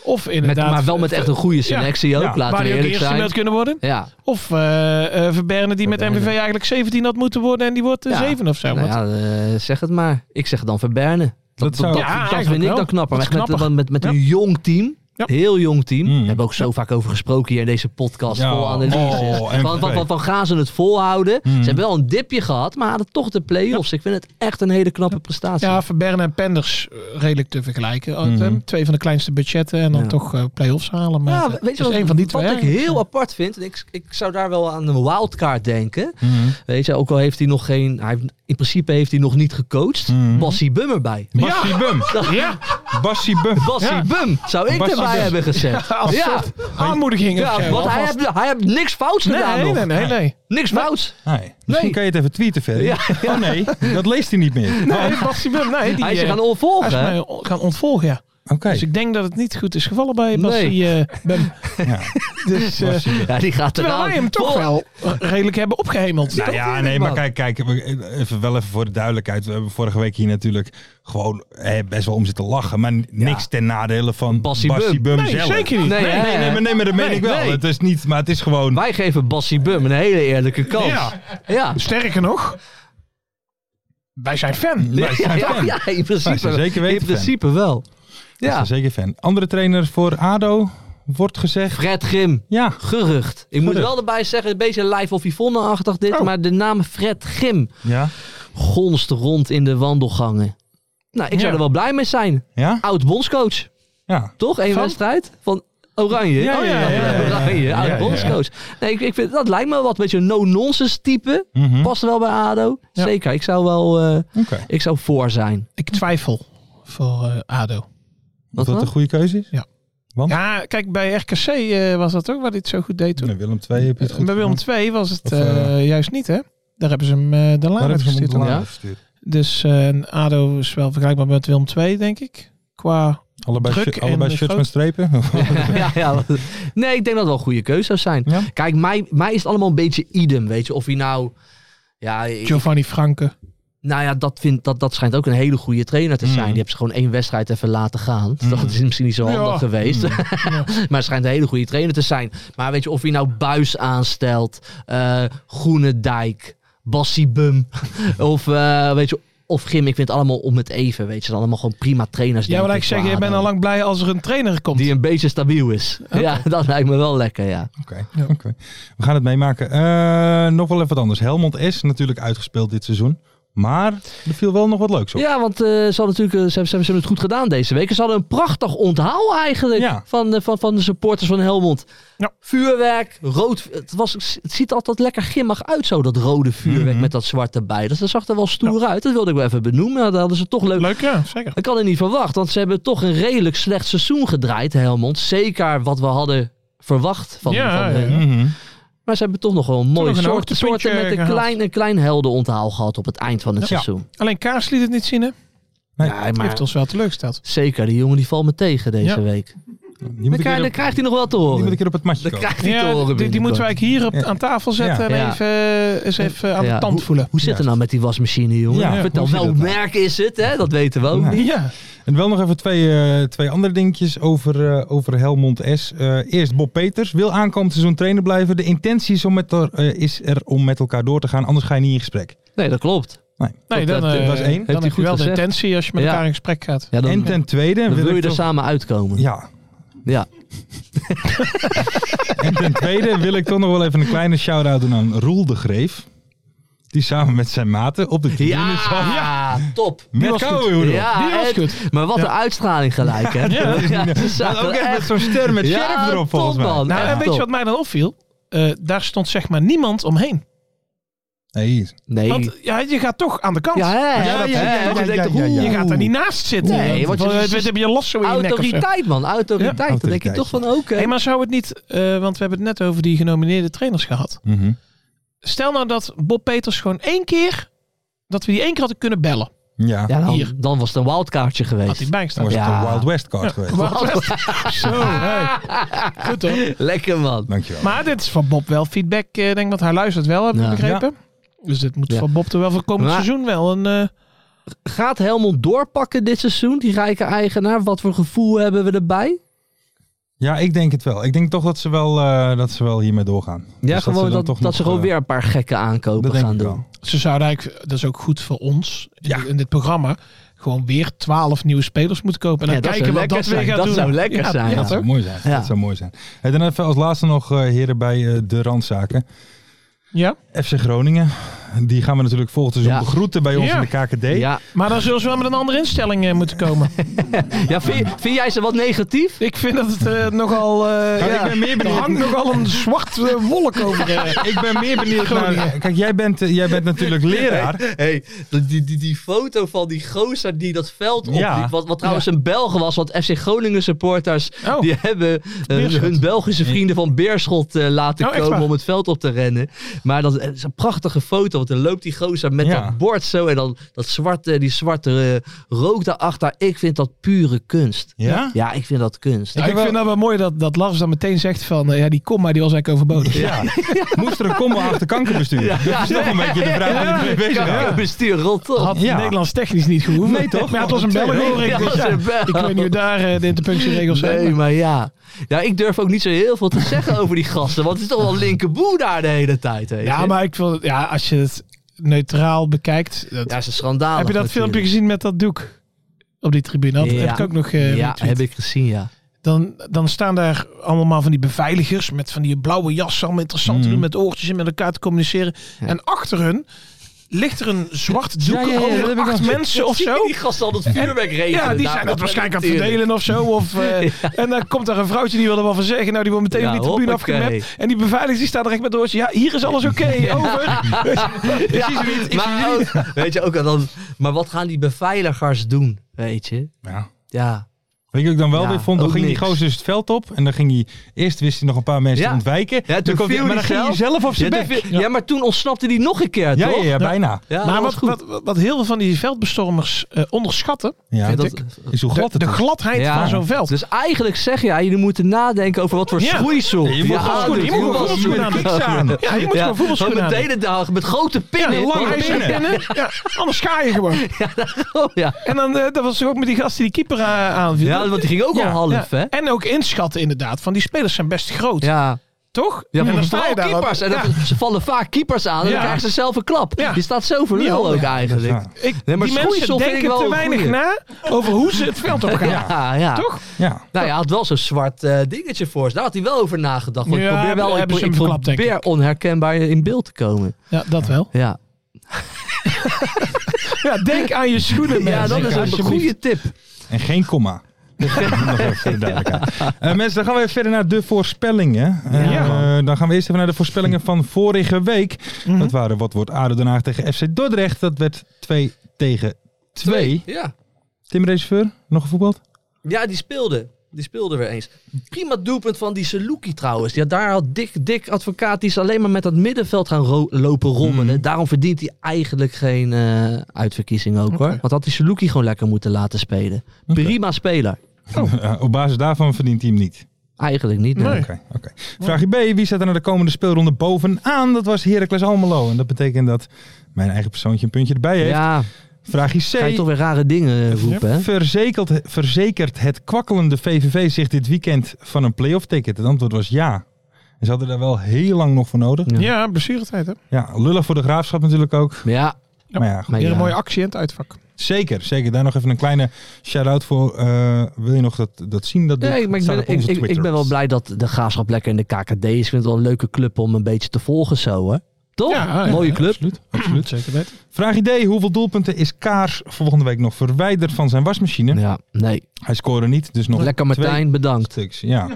S5: Of
S4: met,
S5: inderdaad... eh,
S4: maar wel met echt een goede selectie ook,
S3: Ja,
S4: laten
S5: Waar
S4: we
S5: hij ook
S4: eerlijk
S5: eerste
S4: zijn.
S5: wilt kunnen worden.
S4: Ja,
S5: Of eh eh Verberne die met
S4: Verberne.
S5: MVV eigenlijk 17 had moeten worden. En die wordt
S4: Ja.
S5: 7 of zo.
S4: nou
S5: Want-
S4: ja eh, zeg het maar. Ik zeg dan Verberne. Dat,
S3: Dat
S4: dat,
S3: zou-
S4: dat,
S5: Ja,
S4: dat
S5: eigenlijk
S4: vind ik
S5: wel.
S4: dan knapper.
S5: Dat
S4: Met,
S5: is
S4: met,
S5: knapper.
S4: met, met een
S5: Ja.
S4: jong team.
S5: Ja.
S4: Heel jong team.
S3: Mm.
S4: Daar hebben we ook zo vaak over gesproken hier in deze podcast.
S3: Ja.
S4: Vol analyses.
S3: Oh,
S4: van, van,
S3: MVV.
S4: van, van gaan ze het volhouden?
S3: Mm.
S4: Ze hebben wel een dipje gehad, maar hadden toch de play-offs. Ik vind het echt een hele knappe prestatie.
S5: Ja, Verberne en Penders eh, redelijk te vergelijken. Oh,
S3: Mhm.
S5: Twee van de kleinste budgetten en dan
S4: Ja.
S5: toch eh, play-offs halen. Maar
S4: Ja,
S5: het
S4: weet je
S5: is
S4: wat,
S5: één van die twee.
S4: wat ik
S5: eigenlijk.
S4: heel apart vind? en Ik, ik zou daar wel aan een wildcard denken.
S3: hmm.
S4: Weet je, ook al heeft hij nog geen... Hij, heeft- in principe heeft hij nog niet gecoacht.
S3: Mhm.
S4: Bassie Bum erbij.
S3: Bassie Bum.
S5: Ja,
S3: Bassie Bum.
S4: Bassie Bum zou ik
S3: Bassie
S4: erbij
S3: Bum.
S4: hebben gezet. Ja,
S5: als
S4: ja,
S5: aanmoediging. of zo,
S4: want hij
S5: alvast.
S4: heeft, hij heeft niks fouts gedaan
S5: Nee,
S4: nog.
S5: nee, nee, nee.
S4: Niks fouts.
S3: Nee. Misschien kan je het even tweeten verder. Oh nee, dat leest hij niet meer.
S5: Nee, Bassie Bum, nee. Die,
S4: Hij is
S5: eh,
S4: er gaan
S5: hij is
S4: ontvolgen. hè?
S5: mij on- gaan ontvolgen, ja.
S3: Oké.
S5: Dus ik denk dat het niet goed is gevallen bij Bassie eh, Bum.
S3: Ja. Nou
S5: Dus, eh,
S3: Bassie Bum.
S4: Ja, die gaat nou
S5: terwijl
S4: eraan.
S5: wij hem toch
S4: Vol-
S5: wel eh, redelijk hebben opgehemeld.
S3: Nou ja, nee, maar
S4: man.
S3: kijk, kijk, we- even, wel even voor de duidelijkheid. We hebben vorige week hier natuurlijk gewoon eh, best wel om zitten lachen. Maar n- niks ten nadele van
S4: Bassie
S3: Bassie,
S4: Bum.
S3: Bum
S5: Nee,
S3: zelf.
S5: zeker niet.
S4: Nee,
S3: Nee,
S4: hè?
S3: nee, nee, maar, nee, maar dat meen
S4: Nee,
S3: ik wel.
S4: nee.
S3: Het is niet, maar het is gewoon...
S4: Wij geven Bassie Bum een hele eerlijke kans.
S5: Ja.
S4: Ja.
S5: Sterker nog, wij zijn fan.
S3: Wij zijn
S4: Ja,
S3: fan.
S4: ja, in
S3: Wij
S4: principe,
S3: zijn zeker weten
S4: in principe wel.
S3: Wij zijn
S4: Ja.
S3: zeker fan. Andere trainer voor ADO wordt gezegd...
S4: Fred Grim.
S3: Ja,
S4: Gerucht. Ik moet
S3: Gerucht.
S4: wel erbij zeggen, een beetje live of Yvonne-achtig
S5: Oh.
S4: dit, maar de naam Fred Grim
S3: ja,
S4: gonst rond in de wandelgangen. Nou, ik zou
S5: Ja.
S4: er wel blij mee zijn.
S3: ja,
S4: Oud bondscoach,
S3: ja.
S4: toch? Eén
S5: Van?
S4: wedstrijd van Oranje.
S3: Ja,
S4: Oh,
S3: ja, ja, ja, ja.
S4: Oranje,
S3: Ja,
S4: oud
S3: ja.
S4: bondscoach. Nee, ik, ik vind, dat lijkt me wat, beetje een no-nonsense type.
S3: Mhm.
S4: Past wel bij ADO.
S5: Ja.
S4: Zeker, ik zou wel eh,
S3: Oké,
S4: ik zou voor zijn.
S5: Ik twijfel voor eh, ADO.
S3: dat
S4: Wat
S3: dat
S4: dan?
S3: een goede keuze is?
S5: Ja, kijk, bij RKC eh, was dat ook waar hij het zo goed deed toen.
S3: Nee, Willem 2 heb je het goed
S5: bij Willem
S3: gedaan.
S5: 2 was het
S3: Of, eh,
S5: eh, juist niet, hè? Daar hebben ze hem eh de
S3: Daar
S5: laan
S3: hebben ze hem op
S5: uitgestuurd.
S3: de
S4: ja?
S3: laan gestuurd.
S5: Dus eh, en ADO is wel vergelijkbaar met Willem 2, denk ik. Qua...
S3: Allebei,
S5: Druk
S3: shi-
S5: en
S3: allebei
S5: de
S3: shirts
S5: groot-
S3: met strepen.
S4: ja, ja. Nee, ik denk dat het wel een goede keuze zou zijn.
S3: Ja?
S4: Kijk, mij, mij is het allemaal een beetje idem, weet je. Of hij nou... Ja, ik-
S5: Giovanni Franke.
S4: nou ja, dat, vind, dat, dat schijnt ook een hele goede trainer te zijn. Die heeft ze gewoon één wedstrijd even laten gaan. Dat is misschien niet zo handig
S5: Hmm. Ja.
S4: geweest. maar het schijnt een hele goede trainer te zijn. Maar weet je, of hij nou Buis aanstelt, eh Groenendijk, Bassie Bum. of eh, weet je, of Grim, ik vind het allemaal om het even. Weet je, dan allemaal gewoon prima trainers.
S5: Ja,
S4: denk
S5: maar ik zeg,
S4: qua
S5: je bent
S4: ADO.
S5: al lang blij als er een trainer komt.
S4: Die een beetje stabiel is. Ja, dat lijkt me wel lekker, ja.
S3: Oké, oké. we gaan het meemaken. Eh, nog wel even wat anders. Helmond is natuurlijk uitgespeeld dit seizoen. Maar er viel wel nog wat leuks op.
S4: Ja, want eh, ze, hadden natuurlijk, eh, ze, hebben, ze hebben het goed gedaan deze week. Ze hadden een prachtig onthaal eigenlijk
S3: Ja.
S4: van, eh, van, van de supporters van Helmond.
S5: Ja.
S4: Vuurwerk, rood. Het, was, het ziet altijd lekker grimmig uit zo, dat rode vuurwerk
S5: Mhm.
S4: met dat zwarte bij. Dus dat zag er wel stoer uit. Dat wilde ik wel even benoemen. Dat hadden ze toch leuk.
S5: Leuk, ja, zeker.
S4: Ik had het niet verwacht, want ze hebben toch een redelijk slecht seizoen gedraaid, Helmond. Zeker wat we hadden verwacht van,
S5: Ja,
S4: van
S5: ja.
S4: hun.
S3: Mhm.
S4: Maar ze hebben toch nog wel een mooie
S5: nog een
S4: soort,
S5: hoogtepuntje
S4: soorten
S5: eh,
S4: met een
S5: gehaald.
S4: klein, een klein heldenonthaal gehad op het eind van het
S3: Ja.
S4: seizoen.
S5: Alleen Kaars liet het niet zien, hè?
S3: Nee,
S4: Ja,
S5: Die
S4: maar-
S5: heeft ons wel teleurgesteld.
S4: Zeker, die jongen die valt me tegen deze
S5: Ja.
S4: week.
S3: die,
S4: Dan,
S3: moet ik
S4: krijg-
S3: weer
S4: dan
S3: op,
S4: krijgt hij nog wel te
S3: die
S4: horen.
S3: moet ik weer op het matje
S4: Dan
S3: komen.
S4: krijgt hij te
S5: Ja,
S4: horen.
S5: die, die
S4: binnenkort.
S5: moeten wij eigenlijk hier op,
S3: Ja.
S5: aan tafel zetten
S4: Ja.
S5: en even, eh, eens even aan
S4: Ja,
S5: de tand
S4: hoe-
S5: voelen.
S4: Hoe zit het nou met die wasmachine, jongen?
S3: Ja,
S4: Vertel,
S3: hoe zit
S4: welk
S3: het nou?
S4: merk is het? Hè? Dat weten we ook
S3: Ja.
S4: niet.
S5: Ja,
S3: En wel nog even twee, eh, twee andere dingetjes over, eh, over Helmond S. Eh, eerst Bob Peters. Wil aankomend seizoen trainer blijven. De intentie is, om met er, eh, is er om met elkaar door te gaan. Anders ga je niet in gesprek.
S4: Nee, dat klopt.
S5: nee,
S4: Dat,
S5: dan,
S4: dat
S5: eh,
S3: was één.
S5: dan
S3: Heeft
S4: hij
S5: heb
S4: goed
S5: je wel
S4: gezegd.
S5: de intentie als je met
S4: Ja.
S5: elkaar in gesprek gaat.
S4: Ja, dan,
S3: en ten tweede...
S4: dan wil je er
S3: toch-
S4: samen uitkomen.
S3: Ja.
S4: Ja.
S3: en ten tweede wil ik toch nog wel even een kleine shout-out doen aan Roel de Greef. Die samen met zijn maten op de tribune
S4: Ja,
S3: zat.
S4: top.
S3: Met koude hoeden op.
S4: Ja,
S5: Die was
S4: en-
S5: goed.
S4: Maar wat een uitstraling gelijk, hè? Ja, ze
S3: En
S4: zaten
S3: Ook echt met
S4: echt-
S3: zo'n ster met
S4: Ja,
S3: scherp erop
S4: top,
S3: volgens mij.
S4: man.
S5: Nou,
S4: Echt
S5: en weet
S4: top.
S5: je wat mij dan opviel? Eh, daar stond zeg maar niemand omheen.
S3: Nee.
S4: Nee.
S5: Want ja, je gaat toch aan de kant.
S4: ja, hè?
S3: Ja,
S4: Dat-
S3: ja,
S4: hè,
S3: ja,
S4: want je
S3: ja,
S4: denkt,
S3: ja, ja, ja.
S4: oeh.
S5: Je gaat er niet naast zitten.
S4: Nee, want je-
S5: je, heb je lasso in je nek of zo.
S4: Autoriteit, man. Autoriteit.
S3: Ja,
S4: Dan denk je
S3: autoriteit,
S4: toch van, oké.
S5: Hey, maar zou het niet, eh, want we hebben het net over die genomineerde trainers gehad.
S3: Mhm.
S5: Stel nou dat Bob Peters gewoon één keer, dat we die één keer hadden kunnen bellen.
S3: Ja.
S4: Ja, dan,
S5: Hier.
S4: dan was het een wildkaartje
S5: Had
S4: geweest.
S5: hij bijgestaan.
S3: was
S4: Ja.
S3: het een Wild West card geweest.
S5: Zo, hey. Goed hoor.
S4: Lekker, man.
S3: Dankjewel.
S5: Maar dit is van Bob wel feedback. eh, Ik denk dat hij luistert wel, heb ik
S4: Ja.
S5: begrepen. Dus dit moet
S4: Ja.
S5: van Bob er wel voor komend
S4: Maar-
S5: seizoen wel een... eh,
S4: Gaat Helmond doorpakken dit seizoen, die rijke eigenaar? Wat voor gevoel hebben we erbij?
S3: Ja, ik denk het wel. Ik denk toch dat ze wel, eh, dat ze wel hiermee doorgaan.
S4: Ja,
S3: Dus
S4: gewoon dat,
S3: dan
S4: dat,
S3: toch nog,
S4: ze gewoon
S3: eh,
S4: weer een paar gekke aankopen
S3: dat denk
S4: gaan
S3: ik
S4: doen.
S3: wel.
S5: Ze zouden eigenlijk, dat is ook goed voor ons in,
S3: Ja.
S5: dit, in dit programma, gewoon weer twaalf nieuwe spelers moeten kopen. En
S4: Ja, dat
S5: dan kijken
S4: zou
S5: wat
S4: lekker
S5: dat weer
S4: zijn.
S5: gaat
S4: Dat
S5: doen.
S4: zou lekker zijn,
S3: Ja,
S4: Ja,
S3: dat zou
S4: toch?
S3: mooi zijn.
S4: Ja.
S3: Dat zou mooi zijn. En dan even als laatste nog eh, heren bij eh, de randzaken.
S5: Ja,
S3: FC Groningen. Die gaan we natuurlijk volgend seizoen
S4: Ja.
S3: begroeten bij ons
S5: Ja.
S3: in de KKD.
S4: Ja.
S5: maar dan zullen ze wel met een andere instelling eh, moeten komen.
S4: Ja, vind, vind jij ze wat negatief?
S5: ik vind dat het eh, nogal... eh,
S3: ik
S5: ja,
S3: ben meer
S5: er
S3: benieuwd.
S5: hangt nogal een zwart eh, wolk over. eh.
S3: Ik ben meer benieuwd naar... Kijk, jij bent, eh, jij bent natuurlijk leraar.
S4: Hey, die, die, die foto van die gozer die dat veld opliep,
S3: Ja.
S4: wat, wat trouwens een Belg was, want FC Groningen supporters
S5: Oh.
S4: die hebben eh,
S5: Beerschot.
S4: hun Belgische vrienden van Beerschot eh, laten
S5: Oh, echt
S4: komen
S5: waar?
S4: om het veld op te rennen. Maar dat het is een prachtige foto, want dan loopt die gozer met
S3: Ja.
S4: dat bord zo en dan dat zwarte, die zwarte eh, rook daarachter. Ik vind dat pure kunst.
S3: Ja?
S4: Ja, ik vind dat kunst.
S5: Nou, ik vind dat wel mooi dat, dat Lars dan meteen zegt van, eh, ja die komma die was eigenlijk overbodig.
S3: Ja. Moest er een combo achter kankerbestuur? Dat is toch een beetje de vraag waar ik mee bezig
S4: Ja,
S3: ben.
S4: bestuur, rot op.
S5: Had
S3: Ja.
S5: Nederlands technisch niet gehoeven.
S3: Nee, toch?
S5: Maar ja, het was een
S3: Twee
S5: Belg hoor ik.
S4: Ja,
S5: Dus ja,
S4: ze wel.
S5: ik weet niet hoe daar eh, de interpunctieregels zijn.
S4: Nee, maar ja. Ja, ik durf ook niet zo heel veel te zeggen over die gasten. Want het is toch wel linkerboe daar de hele tijd. Weet
S5: Ja,
S4: je?
S5: maar ik wil, ja, als je het neutraal bekijkt. dat-
S4: Ja, is een schandaal.
S5: heb je dat filmpje gezien met dat doek op die tribune? Dat heb
S4: Ja.
S5: ik ook nog. eh,
S4: ja,
S5: retweet.
S4: heb ik gezien, ja.
S5: dan, dan staan daar allemaal van die beveiligers met van die blauwe jas, allemaal interessant
S4: Mhm.
S5: te doen met oortjes en met elkaar te communiceren. En achter hun ligt er een zwart doek
S3: ja, ja, dat
S5: over
S3: heb ik
S5: acht
S3: nog-
S5: mensen of
S4: Zie
S5: zo.
S4: je Die gasten al het vuurwerk regelen.
S5: Ja, die
S4: daar?
S5: zijn dat waarschijnlijk aan het
S4: natuurlijk.
S5: verdelen of zo. Of, eh, En dan komt daar een vrouwtje die wil er wel van zeggen. Nou, die wordt meteen
S4: Ja,
S5: op die tribune
S4: hoppakee.
S5: afgemapt. En die beveiligers die staan er echt met de oortjes. Ja, hier is alles oké. Over.
S4: Ja, maar, ook, weet je, ook al dan, maar wat gaan die beveiligers doen, weet je?
S3: Ja.
S4: Ja,
S3: Weet je wat ik dan wel
S4: Ja,
S3: weer vond? Dan
S4: ook
S3: ging die
S4: niks.
S3: gozer dus het veld op. En dan ging hij... Eerst wist hij nog een paar mensen
S4: Ja.
S3: te ontwijken.
S4: ja
S3: dan
S4: toen
S3: kwam hij-
S4: viel
S3: maar dan
S4: die
S3: ging hij zelf op zijn
S4: ja,
S3: bek.
S4: toen viel- ja, maar toen ontsnapte die nog een keer,
S3: Ja,
S4: toch?
S3: ja, ja, bijna.
S4: Ja,
S5: maar
S4: dat was
S5: wat,
S4: goed.
S5: wat, wat, wat heel veel van die veldbestormers eh, onderschatten,
S3: Ja,
S4: Ja,
S5: vind
S4: dat-
S5: ik,
S3: is hoe glad
S5: de,
S3: het
S5: de
S3: is.
S5: gladheid
S4: Ja.
S5: van zo'n veld.
S4: Dus eigenlijk zeg je, ja, jullie moeten nadenken over wat voor
S5: Ja.
S4: schoeisel.
S3: Ja, je moet gewoon
S4: aan
S3: schoenen-
S4: doet.
S3: je moet gewoon
S4: voetbalschoenen
S3: schoenen aan.
S4: doet.
S5: Ja, je moet gewoon voetbalschoenen
S4: Gewoon
S5: aan
S4: met de hele dag, met grote pinnen.
S3: Ja, lange
S4: Hoor.
S3: pinnen.
S5: Binnen, ja, anders ga je gewoon.
S4: Oh, ja.
S5: En dan, eh, dat was toch ook met die gast die die keeper eh, aanviel.
S4: ja, want die ging ook al
S5: Ja,
S4: half,
S5: ja.
S4: hè?
S5: En ook inschatten inderdaad, van die spelers zijn best groot.
S4: Ja.
S5: Toch?
S4: Ja,
S5: en dan sta je
S4: vooral
S5: daar ook.
S4: keepers. En dan-
S5: Ja.
S4: ze vallen vaak keepers aan en
S5: Ja.
S4: dan krijgen ze zelf een klap.
S5: Ja.
S4: Die staat zo voor
S5: Niet
S4: nul ook
S5: handig.
S4: eigenlijk.
S3: Ja.
S5: Ik,
S4: Nee, maar
S5: die mensen
S4: Schoeisel vind ik
S5: denken
S4: wel
S5: te
S4: een
S5: weinig
S4: goeie.
S5: na over hoe ze het veld op gaan.
S4: Ja, ja.
S5: Toch?
S3: Ja.
S4: Nou, hij had wel zo'n zwart eh, dingetje voor ze. Daar had hij wel over nagedacht. Want
S5: Ja,
S4: ik probeer wel ik,
S5: hebben ze
S4: pro- ik
S5: hem verklapt, denk
S4: probeer onherkenbaar in beeld te komen.
S5: Ja, dat wel.
S4: Ja,
S5: Ja, denk aan je schoenen,
S4: ja dat is een goede tip.
S3: En geen komma. Nog even voor de duidelijkheid. Eh, mensen, dan gaan we even verder naar de voorspellingen. Eh,
S5: Ja.
S3: eh, dan gaan we eerst even naar de voorspellingen van vorige week. Dat waren wat wordt ADO Den Haag tegen FC Dordrecht. Dat werd 2 tegen 2.
S4: Ja.
S3: Tim Reserveur, nog gevoetbald?
S4: ja, die speelde. Die speelde weer eens. Prima doelpunt van die Saluki trouwens. Ja, daar had Dick, Dick Advocaat, die is alleen maar met dat middenveld gaan ro- lopen
S3: Mhm.
S4: rommelen. Daarom verdient hij eigenlijk geen eh, uitverkiezing ook hoor. Want had die Saluki gewoon lekker moeten laten spelen. Prima speler.
S3: Ja, op basis daarvan verdient hij hem niet.
S4: Eigenlijk niet. nee.
S5: Nee.
S3: Oké. oké. Vraagje B. Wie staat er naar de komende speelronde bovenaan? Dat was Heracles Almelo. En dat betekent dat mijn eigen persoontje een puntje erbij heeft.
S4: Ja,
S3: Vraagje C.
S4: ga je toch weer rare dingen eh, roepen hè?
S3: Verzekert, verzekert het kwakkelende VVV zich dit weekend van een playoff ticket? Het antwoord was ja. En ze hadden daar wel heel lang nog voor nodig.
S4: Ja.
S5: Ja, blessuretijd hè.
S3: Ja, lullig voor de graafschap natuurlijk ook.
S4: Ja,
S3: Maar ja, goed.
S4: maar
S5: Weer
S4: ja.
S5: een mooie actie in het uitvak.
S3: zeker, zeker. Daar nog even een kleine shout-out voor. Eh, wil je nog dat, dat zien? Dat doe
S4: Nee, maar ik,
S3: Staat
S4: ben,
S3: op onze
S4: ik, ik, ik
S3: Twitter.
S4: ben wel blij dat de graafschap lekker in de KKD is. Ik vind het wel een leuke club om een beetje te volgen zo, hè? Toch?
S5: Ja, ja,
S4: Mooie club.
S3: Absoluut, absoluut.
S5: Zeker weten.
S3: Vraag idee. Hoeveel doelpunten is Kaars volgende week nog verwijderd van zijn wasmachine?
S4: Ja, nee.
S3: Hij scoorde niet, dus nog
S4: Lekker Martijn,
S3: twee
S4: bedankt.
S3: stuks. Ja,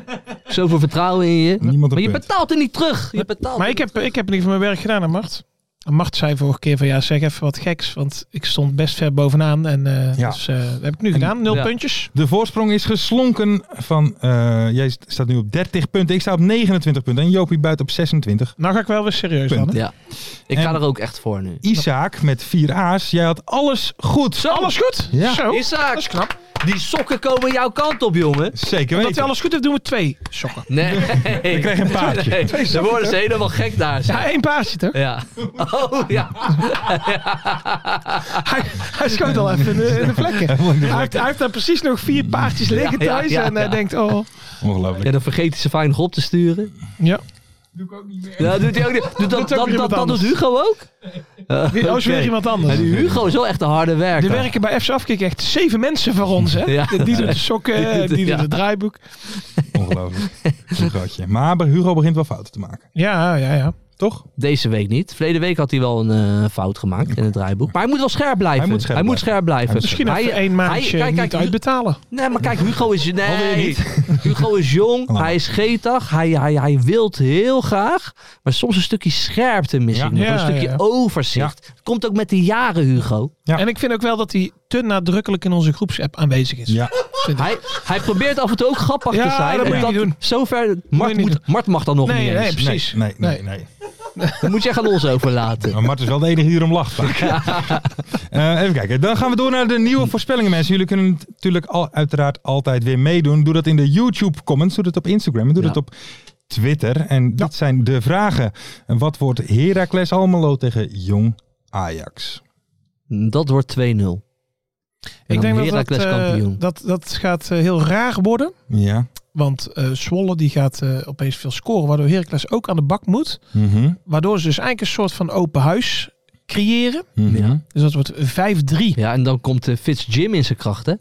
S4: Zoveel vertrouwen in je.
S3: Niemand een
S4: maar je
S3: punt.
S4: betaalt er niet terug. Je betaalt
S5: Maar
S4: er
S5: ik
S4: niet
S5: heb, ik heb in ieder geval mijn werk gedaan aan Mart. En Mart zei vorige keer van ja, zeg even wat geks. Want ik stond best ver bovenaan. En eh,
S3: Ja.
S5: dus, eh, dat heb ik nu gedaan. Nul
S4: ja.
S5: puntjes.
S3: De voorsprong is geslonken van... eh, jij staat nu op 30 punten. Ik sta op 29 punten. En Jopie buiten op 26.
S5: Nou ga ik wel weer serieus
S3: Punt.
S5: dan. Hè?
S4: terug. Ja. Ik ga
S3: En-
S4: er ook echt voor nu.
S3: Isaac met 4 A's. Jij had alles goed.
S5: Alles goed?
S3: Ja.
S5: Zo.
S4: Isaac,
S5: Dat is knap.
S4: die sokken komen jouw kant op, jongen.
S3: Zeker
S5: Dat
S3: weten.
S5: hij alles goed heeft, doen we twee sokken.
S4: Nee. Ik
S3: kreeg een paardje.
S4: Ze worden ze helemaal gek daar.
S5: Ja,
S4: Ja.
S5: één paasje toch?
S4: Oh ja.
S5: Hij, hij schoot al even in de, in de vlekken. Hij heeft, hij heeft daar precies nog vier paardjes liggen
S4: Ja, ja,
S5: thuis.
S4: ja,
S5: en hij
S4: ja.
S5: denkt, oh.
S4: ja.
S3: Ongelooflijk.
S4: Dan vergeet hij ze vaak nog op te sturen.
S5: Ja.
S4: Ja, doet hij ook niet. Doet dat, dat,
S5: ook weer
S4: dat,
S5: iemand
S4: dat doet
S5: anders.
S4: Hugo ook? Eh,
S5: Wie- Oh, is weer
S4: oké.
S5: iemand anders.
S4: Ja, die Hugo is wel echt een harde werker.
S5: Er werken bij FC Afkik echt zeven mensen voor ons. Hè?
S4: Ja.
S5: Die doen de sokken, die
S4: doet-
S5: doen
S4: ja.
S5: het draaiboek.
S3: Ongelooflijk. Een grootje. Maar Hugo begint wel fouten te maken.
S5: Ja, ja, ja.
S3: Toch?
S4: Deze week niet. Verleden week had hij wel een eh, fout gemaakt in het draaiboek. Maar hij moet wel scherp blijven.
S3: Hij moet scherp blijven.
S4: blijven.
S3: Hij moet
S5: Misschien
S4: Hij-
S5: even één maandje
S4: hij- kijk, kijk,
S5: niet
S4: Hu-
S5: uitbetalen.
S4: Nee, maar kijk, Hugo is...
S3: Alweer
S4: Nee,
S3: niet.
S4: Hugo is jong.
S5: Oh.
S4: Hij is getig. Hij, hij, hij wilt heel graag. Maar soms een stukje scherpte mis
S3: Ja.
S4: ik nog.
S5: Ja,
S4: een stukje
S5: ja.
S4: overzicht. Komt ook met de jaren, Hugo.
S3: Ja.
S5: En ik vind ook wel dat hij te nadrukkelijk in onze groepsapp aanwezig is.
S3: Ja.
S4: Hij, hij probeert af en toe ook grappig
S5: Ja,
S4: te zijn.
S5: dat
S4: En
S5: moet je niet doen.
S4: Zover... Mart,
S5: niet
S4: moet, Mart mag dan nog
S5: Nee,
S4: niet
S5: nee,
S4: eens.
S5: precies.
S3: Nee, nee, nee. nee.
S4: Dan moet jij aan ons overlaten.
S3: Maar Mart is wel de enige die erom lacht. vaak. Eh, even kijken. Dan gaan we door naar de nieuwe voorspellingen, mensen. Jullie kunnen natuurlijk al, uiteraard altijd weer meedoen. Doe dat in de YouTube-comments. Doe dat op Instagram. En doe
S4: Ja.
S3: dat op Twitter. En dit zijn de vragen. En Wat wordt Heracles Almelo tegen Jong Ajax?
S4: Dat wordt 2-0.
S5: Ik denk dat dat,
S4: Heracles
S5: eh,
S4: kampioen.
S5: dat dat gaat eh, heel raar worden.
S3: Ja.
S5: Want eh, Zwolle die gaat eh, opeens veel scoren. Waardoor Heracles ook aan de bak moet.
S3: Mhm.
S5: Waardoor ze dus eigenlijk een soort van open huis creëren.
S3: Mhm.
S4: Ja.
S5: Dus dat wordt 5-3. Ja,
S4: Ja, en dan komt eh, Fitz Jim in zijn kracht, hè?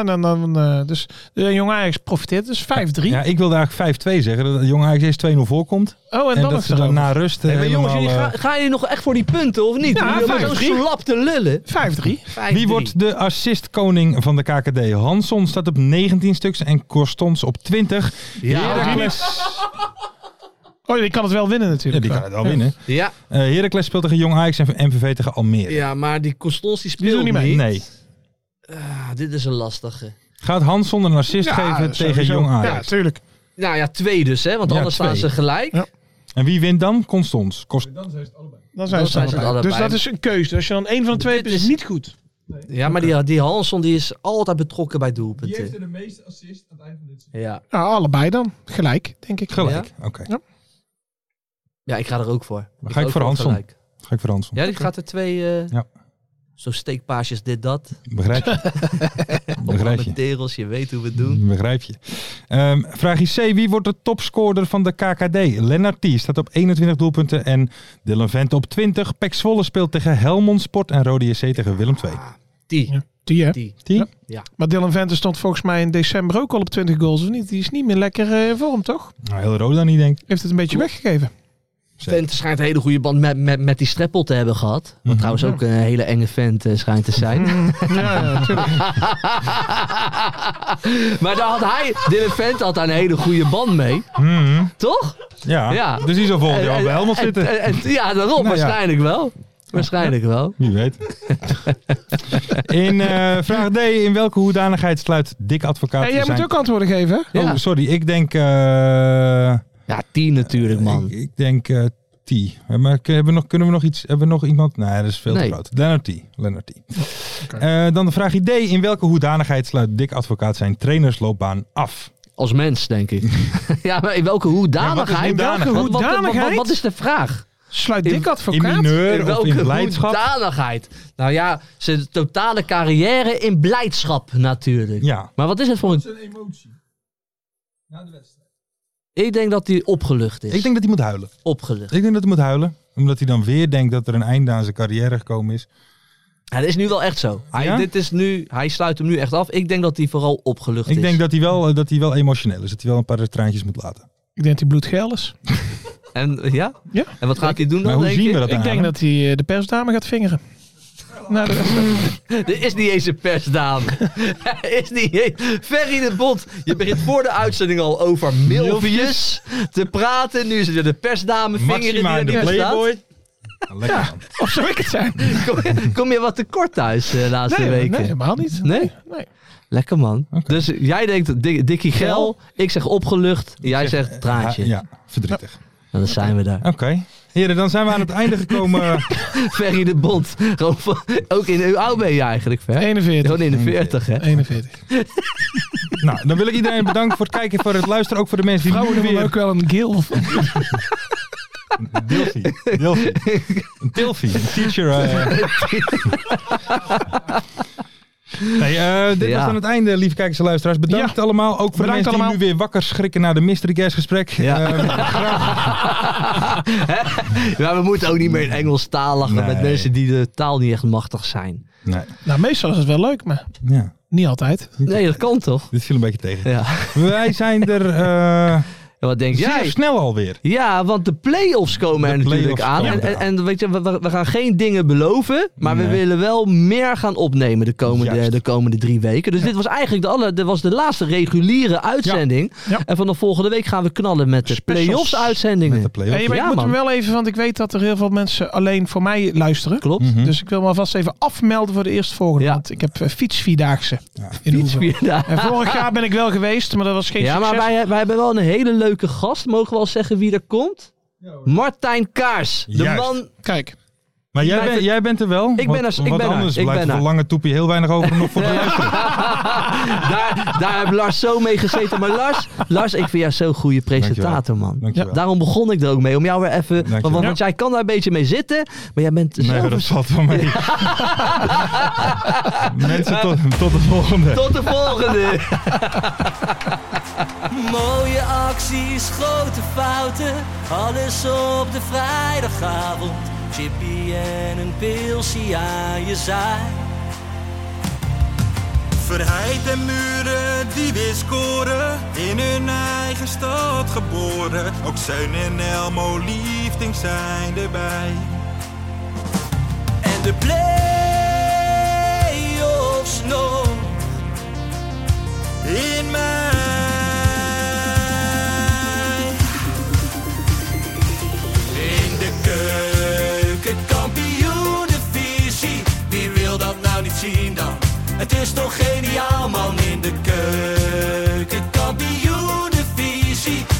S5: en dan, dan, eh, dus de jonge Ajax profiteert. Dus 5-3.
S3: Ja, ik wilde eigenlijk 5-2 zeggen. Dat Jong Ajax eerst 2-0 voorkomt.
S5: Oh, en,
S3: En
S5: dan
S3: dat
S5: is
S3: ze
S5: het
S3: dan
S5: over.
S3: na rust eh,
S4: Hey, maar jongens, jullie
S3: helemaal,
S4: gaan,
S3: eh,
S4: gaan jullie nog echt voor die punten, of niet?
S5: Ja,
S4: Jullie hebben zo'n
S5: 5-3.
S4: slap te lullen.
S5: 5-3.
S3: Wie wordt de assistkoning van de KKD? Hanson staat op 19 stuks en Korstons op 20.
S4: Ja,
S3: Heracles,
S5: Oh, die kan het wel winnen
S3: ja,
S5: natuurlijk.
S3: die kan het wel winnen.
S4: ja,
S3: Eh Heracles speelt tegen Jong Ajax en MVV tegen Almere.
S4: ja, maar die Constans die
S5: Die
S4: speelt
S5: doen niet
S4: niet.
S5: mee.
S3: Nee.
S4: Ah, dit is een lastige.
S3: Gaat Hanson een assist geven
S5: sowieso.
S3: tegen Jong
S5: Ja,
S3: Ajax?
S5: tuurlijk.
S4: Nou ja, twee dus, hè? Want
S3: Ja,
S4: anders staan
S3: twee.
S4: ze gelijk.
S5: Ja.
S3: en wie wint dan? Constons. Kost...
S5: Dan zijn
S4: Dan
S5: ze
S4: zijn
S5: het
S4: ze het
S5: allebei. Dus
S4: allebei.
S5: dat is een keuze. Dus Als je dan één van de twee hebt, is het niet goed.
S4: Ja, maar die, die Hanson die is altijd betrokken bij
S6: Die heeft er
S4: doelpunten.
S6: de meeste assists aan het eind van dit seizoen.
S4: Ja.
S5: Ja, allebei dan. Gelijk, denk ik.
S3: Gelijk. Oké.
S4: ja, ik ga er ook voor.
S3: Ga ik
S4: ook
S3: voor Hanson?
S4: gelijk.
S3: Ga ik voor Hanson.
S4: Ja, die gaat er twee... eh,
S3: Ja.
S4: Zo steekpaasjes dit dat.
S3: Begrijp je? Begrijp je.
S4: Begrijp je. Terels, je weet hoe we het doen.
S3: Begrijp je. Ehm vraagje C. Wie wordt de topscorer van de KKD? Lennart T. staat op 21 doelpunten en Dylan Vent op 20. Pek Zwolle speelt tegen Helmond Sport en Rode JC tegen Willem II.
S4: Die.
S5: Ja. Die, hè?
S4: Die.
S3: Die?
S4: Ja.
S5: Maar Dylan Venter stond volgens mij in december ook al op 20 goals, of niet? Die is niet meer lekker eh, in vorm, toch?
S3: Nou, heel Roda niet, denk ik.
S5: Heeft het een beetje weggegeven.
S4: Vent schijnt een hele goede band met, met, met die streppel te hebben gehad. Wat
S3: Mhm.
S4: trouwens ook een hele enge vent eh, schijnt te zijn.
S5: Ja, ja, natuurlijk.
S4: maar daar had hij, Dylan Vent had daar een hele goede band mee. Toch?
S3: Hmm, Ja.
S4: Ja. eh,
S3: Dus die zal volgend jaar
S4: En-
S3: bij Helmond
S4: en-
S3: zitten.
S4: en- en- ja, daarom.
S3: Nou ja.
S4: waarschijnlijk wel. Waarschijnlijk wel.
S3: Wie weet. In eh, vraag D. In welke hoedanigheid sluit Dick Advocaat
S5: En jij
S3: zijn...
S5: moet ook antwoorden geven, hè?
S4: Ja.
S3: Oh, sorry. Ik denk... eh,
S4: Ja, die natuurlijk,
S3: Ik,
S4: man.
S3: ik denk eh, T. Eh, Maar kun- hebben we nog, kunnen we nog iets? Hebben we nog iemand? Nee, dat is veel
S4: Nee.
S3: te groot. Lennart T. Lennart T. Eh, dan de vraag idee. In welke hoedanigheid sluit Dick Advocaat zijn trainersloopbaan af?
S4: Als mens, denk ik. ja, maar in welke hoedanigheid?
S3: Ja, wat is
S4: Wat- wat- wat-
S5: hoedanigheid?
S4: wat- wat is de vraag?
S5: Sluit
S4: In-
S5: dik
S3: In
S5: advocaat.
S3: mineur of in blijdschap?
S4: hoedanigheid? Nou ja, zijn totale carrière in blijdschap natuurlijk.
S3: Ja.
S4: Maar wat is het voor een...
S6: is een emotie. Na de wedstrijd.
S4: Ik denk dat hij opgelucht is.
S3: Ik denk dat hij moet huilen.
S4: Opgelucht.
S3: Ik denk dat hij moet huilen. Omdat hij dan weer denkt dat er een einde aan zijn carrière gekomen is.
S4: Ja, dat is nu wel echt zo. Hij,
S3: Ja?
S4: dit is nu, hij sluit hem nu echt af. Ik denk dat hij vooral opgelucht is.
S3: Ik denk dat hij, wel, eh, dat hij wel emotioneel is. Dat hij wel een paar traantjes moet laten.
S5: Ik denk dat hij bloedgeel is.
S4: En, eh, ja?
S5: Ja.
S4: En wat gaat hij doen
S3: Maar
S4: dan,
S3: hoe
S4: denk
S3: zien
S4: je?
S3: we dat
S5: Ik
S3: aan
S5: denk
S3: hem?
S5: dat hij eh, de persdame gaat vingeren. Na de wedstrijd.
S4: Er is niet eens een persdame. Er is niet eens... Ferry de Bond, je begint voor de uitzending al over milfjes te praten. Nu is het weer de persdame vinger die
S3: Maxima
S4: er
S3: en
S4: niet
S3: de
S4: meer staat.
S3: Playboy. Lekker man.
S5: Of zou ik het zijn?
S4: Kom, kom je wat tekort thuis eh, de laatste
S5: Nee,
S4: weken?
S5: nee, helemaal niet.
S4: Nee?
S5: nee.
S4: Lekker man. Dus jij denkt Dik- Dikkie Gel, ik zeg opgelucht, jij zegt traantje.
S3: Ja, verdrietig.
S4: Nou, dan zijn we daar.
S3: Oké. Heren, dan zijn we aan het einde gekomen.
S4: Ferry de Bond, gewoon van- ook in hoe oud ben je eigenlijk, Fer?
S5: 41.
S4: Gewoon in de 40, hè?
S5: 41.
S3: Nou, dan wil ik iedereen bedanken voor het kijken, voor het luisteren. Ook voor de mensen die
S5: Vrouwen
S3: nu
S5: hebben
S3: weer...
S5: ook wel een geel.
S3: Dilfie. Dilfie. Een Tilfie. Een teacher. eh. Nee, eh, dit
S4: Ja.
S3: was dan het einde, lieve kijkers en luisteraars. Bedankt allemaal. Ook voor de
S5: Bedankt
S3: mensen
S5: allemaal.
S3: die nu weer wakker schrikken na de mystery guest gesprek.
S4: Ja.
S3: Eh,
S4: Ja, we moeten ook niet meer in Engels taal lachen
S3: Nee.
S4: met mensen die de taal niet echt machtig zijn.
S3: nee.
S5: Nou, meestal is het wel leuk, maar
S3: Ja,
S5: niet altijd.
S4: Nee, dat kan toch?
S3: dit viel een beetje tegen.
S4: Ja.
S3: Wij zijn er eh
S4: En wat denk
S3: zeer
S4: jij?
S3: snel alweer.
S4: Ja, want de play-offs komen
S3: De
S4: er natuurlijk
S3: play-offs
S4: aan. En,
S3: komen
S4: en,
S3: eraan.
S4: en weet je, we- we, we gaan geen dingen beloven. Maar we
S3: Nee.
S4: willen wel meer gaan opnemen de komende,
S3: Juist.
S4: de komende drie weken. Dus dit was eigenlijk de, alle, dit was de laatste reguliere uitzending.
S5: Ja.
S4: En vanaf volgende week gaan we knallen met de
S5: Specials.
S4: play-offs uitzendingen.
S3: Met de play-off.
S5: Hey, maar
S4: Ja,
S5: ik moet
S4: man.
S5: hem wel even, want ik weet dat er heel veel mensen alleen voor mij luisteren.
S4: Klopt.
S5: Dus ik wil me alvast even afmelden voor de eerstvolgende.
S4: Ja.
S5: Want ik heb eh, fietsvierdaagse in Oever.
S4: Ja,
S5: En vorig jaar ben ik wel geweest, maar dat was geen
S4: ja
S5: succes.
S4: maar wij, wij hebben wel een hele leuke gast. Mogen we al zeggen wie er komt? Martijn Kaars. De
S3: Juist.
S4: man...
S5: Kijk,
S3: Maar jij,
S4: Wij
S3: bent-
S4: ver-
S3: jij bent er wel?
S4: ben
S3: Want-
S4: er- ik
S3: want
S4: ben er.
S3: anders
S4: Ik
S3: blijft
S4: ben
S3: er voor
S4: er.
S3: lange toepie heel weinig over om nog voor te luisteren.
S4: daar, daar heb Lars zo mee gezeten. Maar Lars, Lars ik vind jou zo'n goede presentator, man.
S3: Dankjewel.
S4: Ja, daarom begon ik er ook mee. Om jou weer even. Want, want,
S3: Dankjewel.
S4: want jij kan daar een beetje mee zitten. Maar jij bent.
S3: Nee,
S4: zelf-
S3: dat valt wel mee. Mensen, tot, tot de volgende.
S4: Tot de volgende!
S1: Mooie acties, grote fouten, alles op de vrijdagavond. Chippy en een pilsie aan je zaai.
S2: Verheid en muren die weer scoren, in hun eigen stad geboren. Ook Zeun en Elmo liefding zijn erbij.
S1: En de play-offs nog.
S2: In mij.
S1: In de keuken, kampioen Wie wil dat nou niet zien dan? Het is toch geniaal man in de keuken, kampioen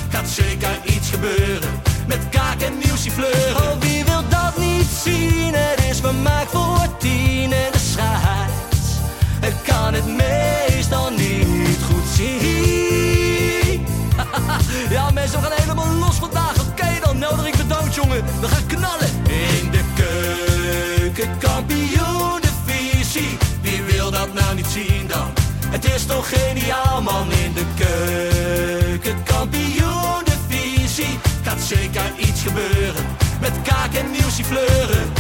S1: Gaat zeker iets gebeuren met kaak en nieuwsie fleuren. Oh, wie wil dat niet zien? Het is vermaakt voor tien en de scheids. Het kan het meestal niet goed zien. Ja, mensen, we gaan helemaal los vandaag. Oké dan, Nelderik bedankt, jongen. We gaan knallen. In de keuken, kampioen, de
S4: Het is toch geniaal man in de keuken. Kampioen de visie. Gaat zeker iets gebeuren. Met kaak en nieuwsie fleuren.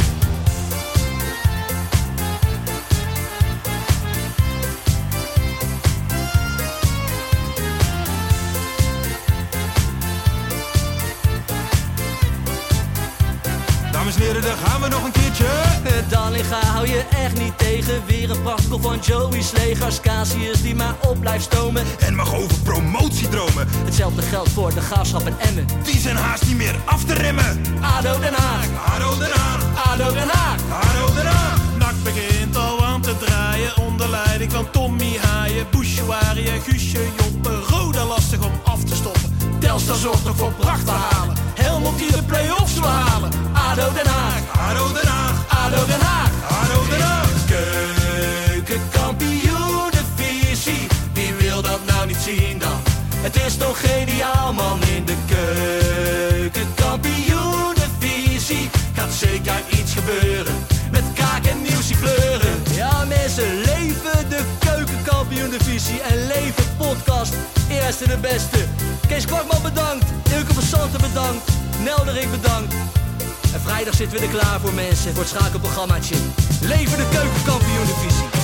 S1: Dames en heren, daar gaan we nog een keertje.
S4: Dallinga Eh, hou je echt niet tegen. Weer een prachtkel van Joey's legers. Casius die maar op blijft stomen.
S1: En mag over promotie dromen.
S4: Hetzelfde geldt voor de gaafschap en Emmen.
S1: Die zijn haast niet meer af te remmen.
S4: ADO Den Haag.
S1: ADO Den Haag.
S4: ADO Den Haag.
S1: ADO Den Haag.
S10: Nak begint al aan te draaien onder leiding van Tommy Haaien, Bouchouari en Guusje Joppen. Roda lastig om af te stoppen.
S4: Telstar zorgt nog voor pracht te halen. Helmond die de play-offs wil halen. ADO Den Haag.
S1: ADO Den Haag.
S4: ADO Den Haag.
S1: ADO Den Haag.
S4: Keukenkampioen de visie. Wie wil dat nou niet zien dan? Het is toch geniaal man in de keukenkampioen de visie. Gaat zeker iets gebeuren. Met kaak en nieuwsie fleuren. Ja mensen, leven de keukenkampioen divisie en leven podcast. Eerste de beste. Kees Kwakman bedankt. Ilke van Santen bedankt. Nelderik bedankt. En vrijdag zitten we er klaar voor mensen, voor het schakelprogrammaatje. Leven de keukenkampioen divisie.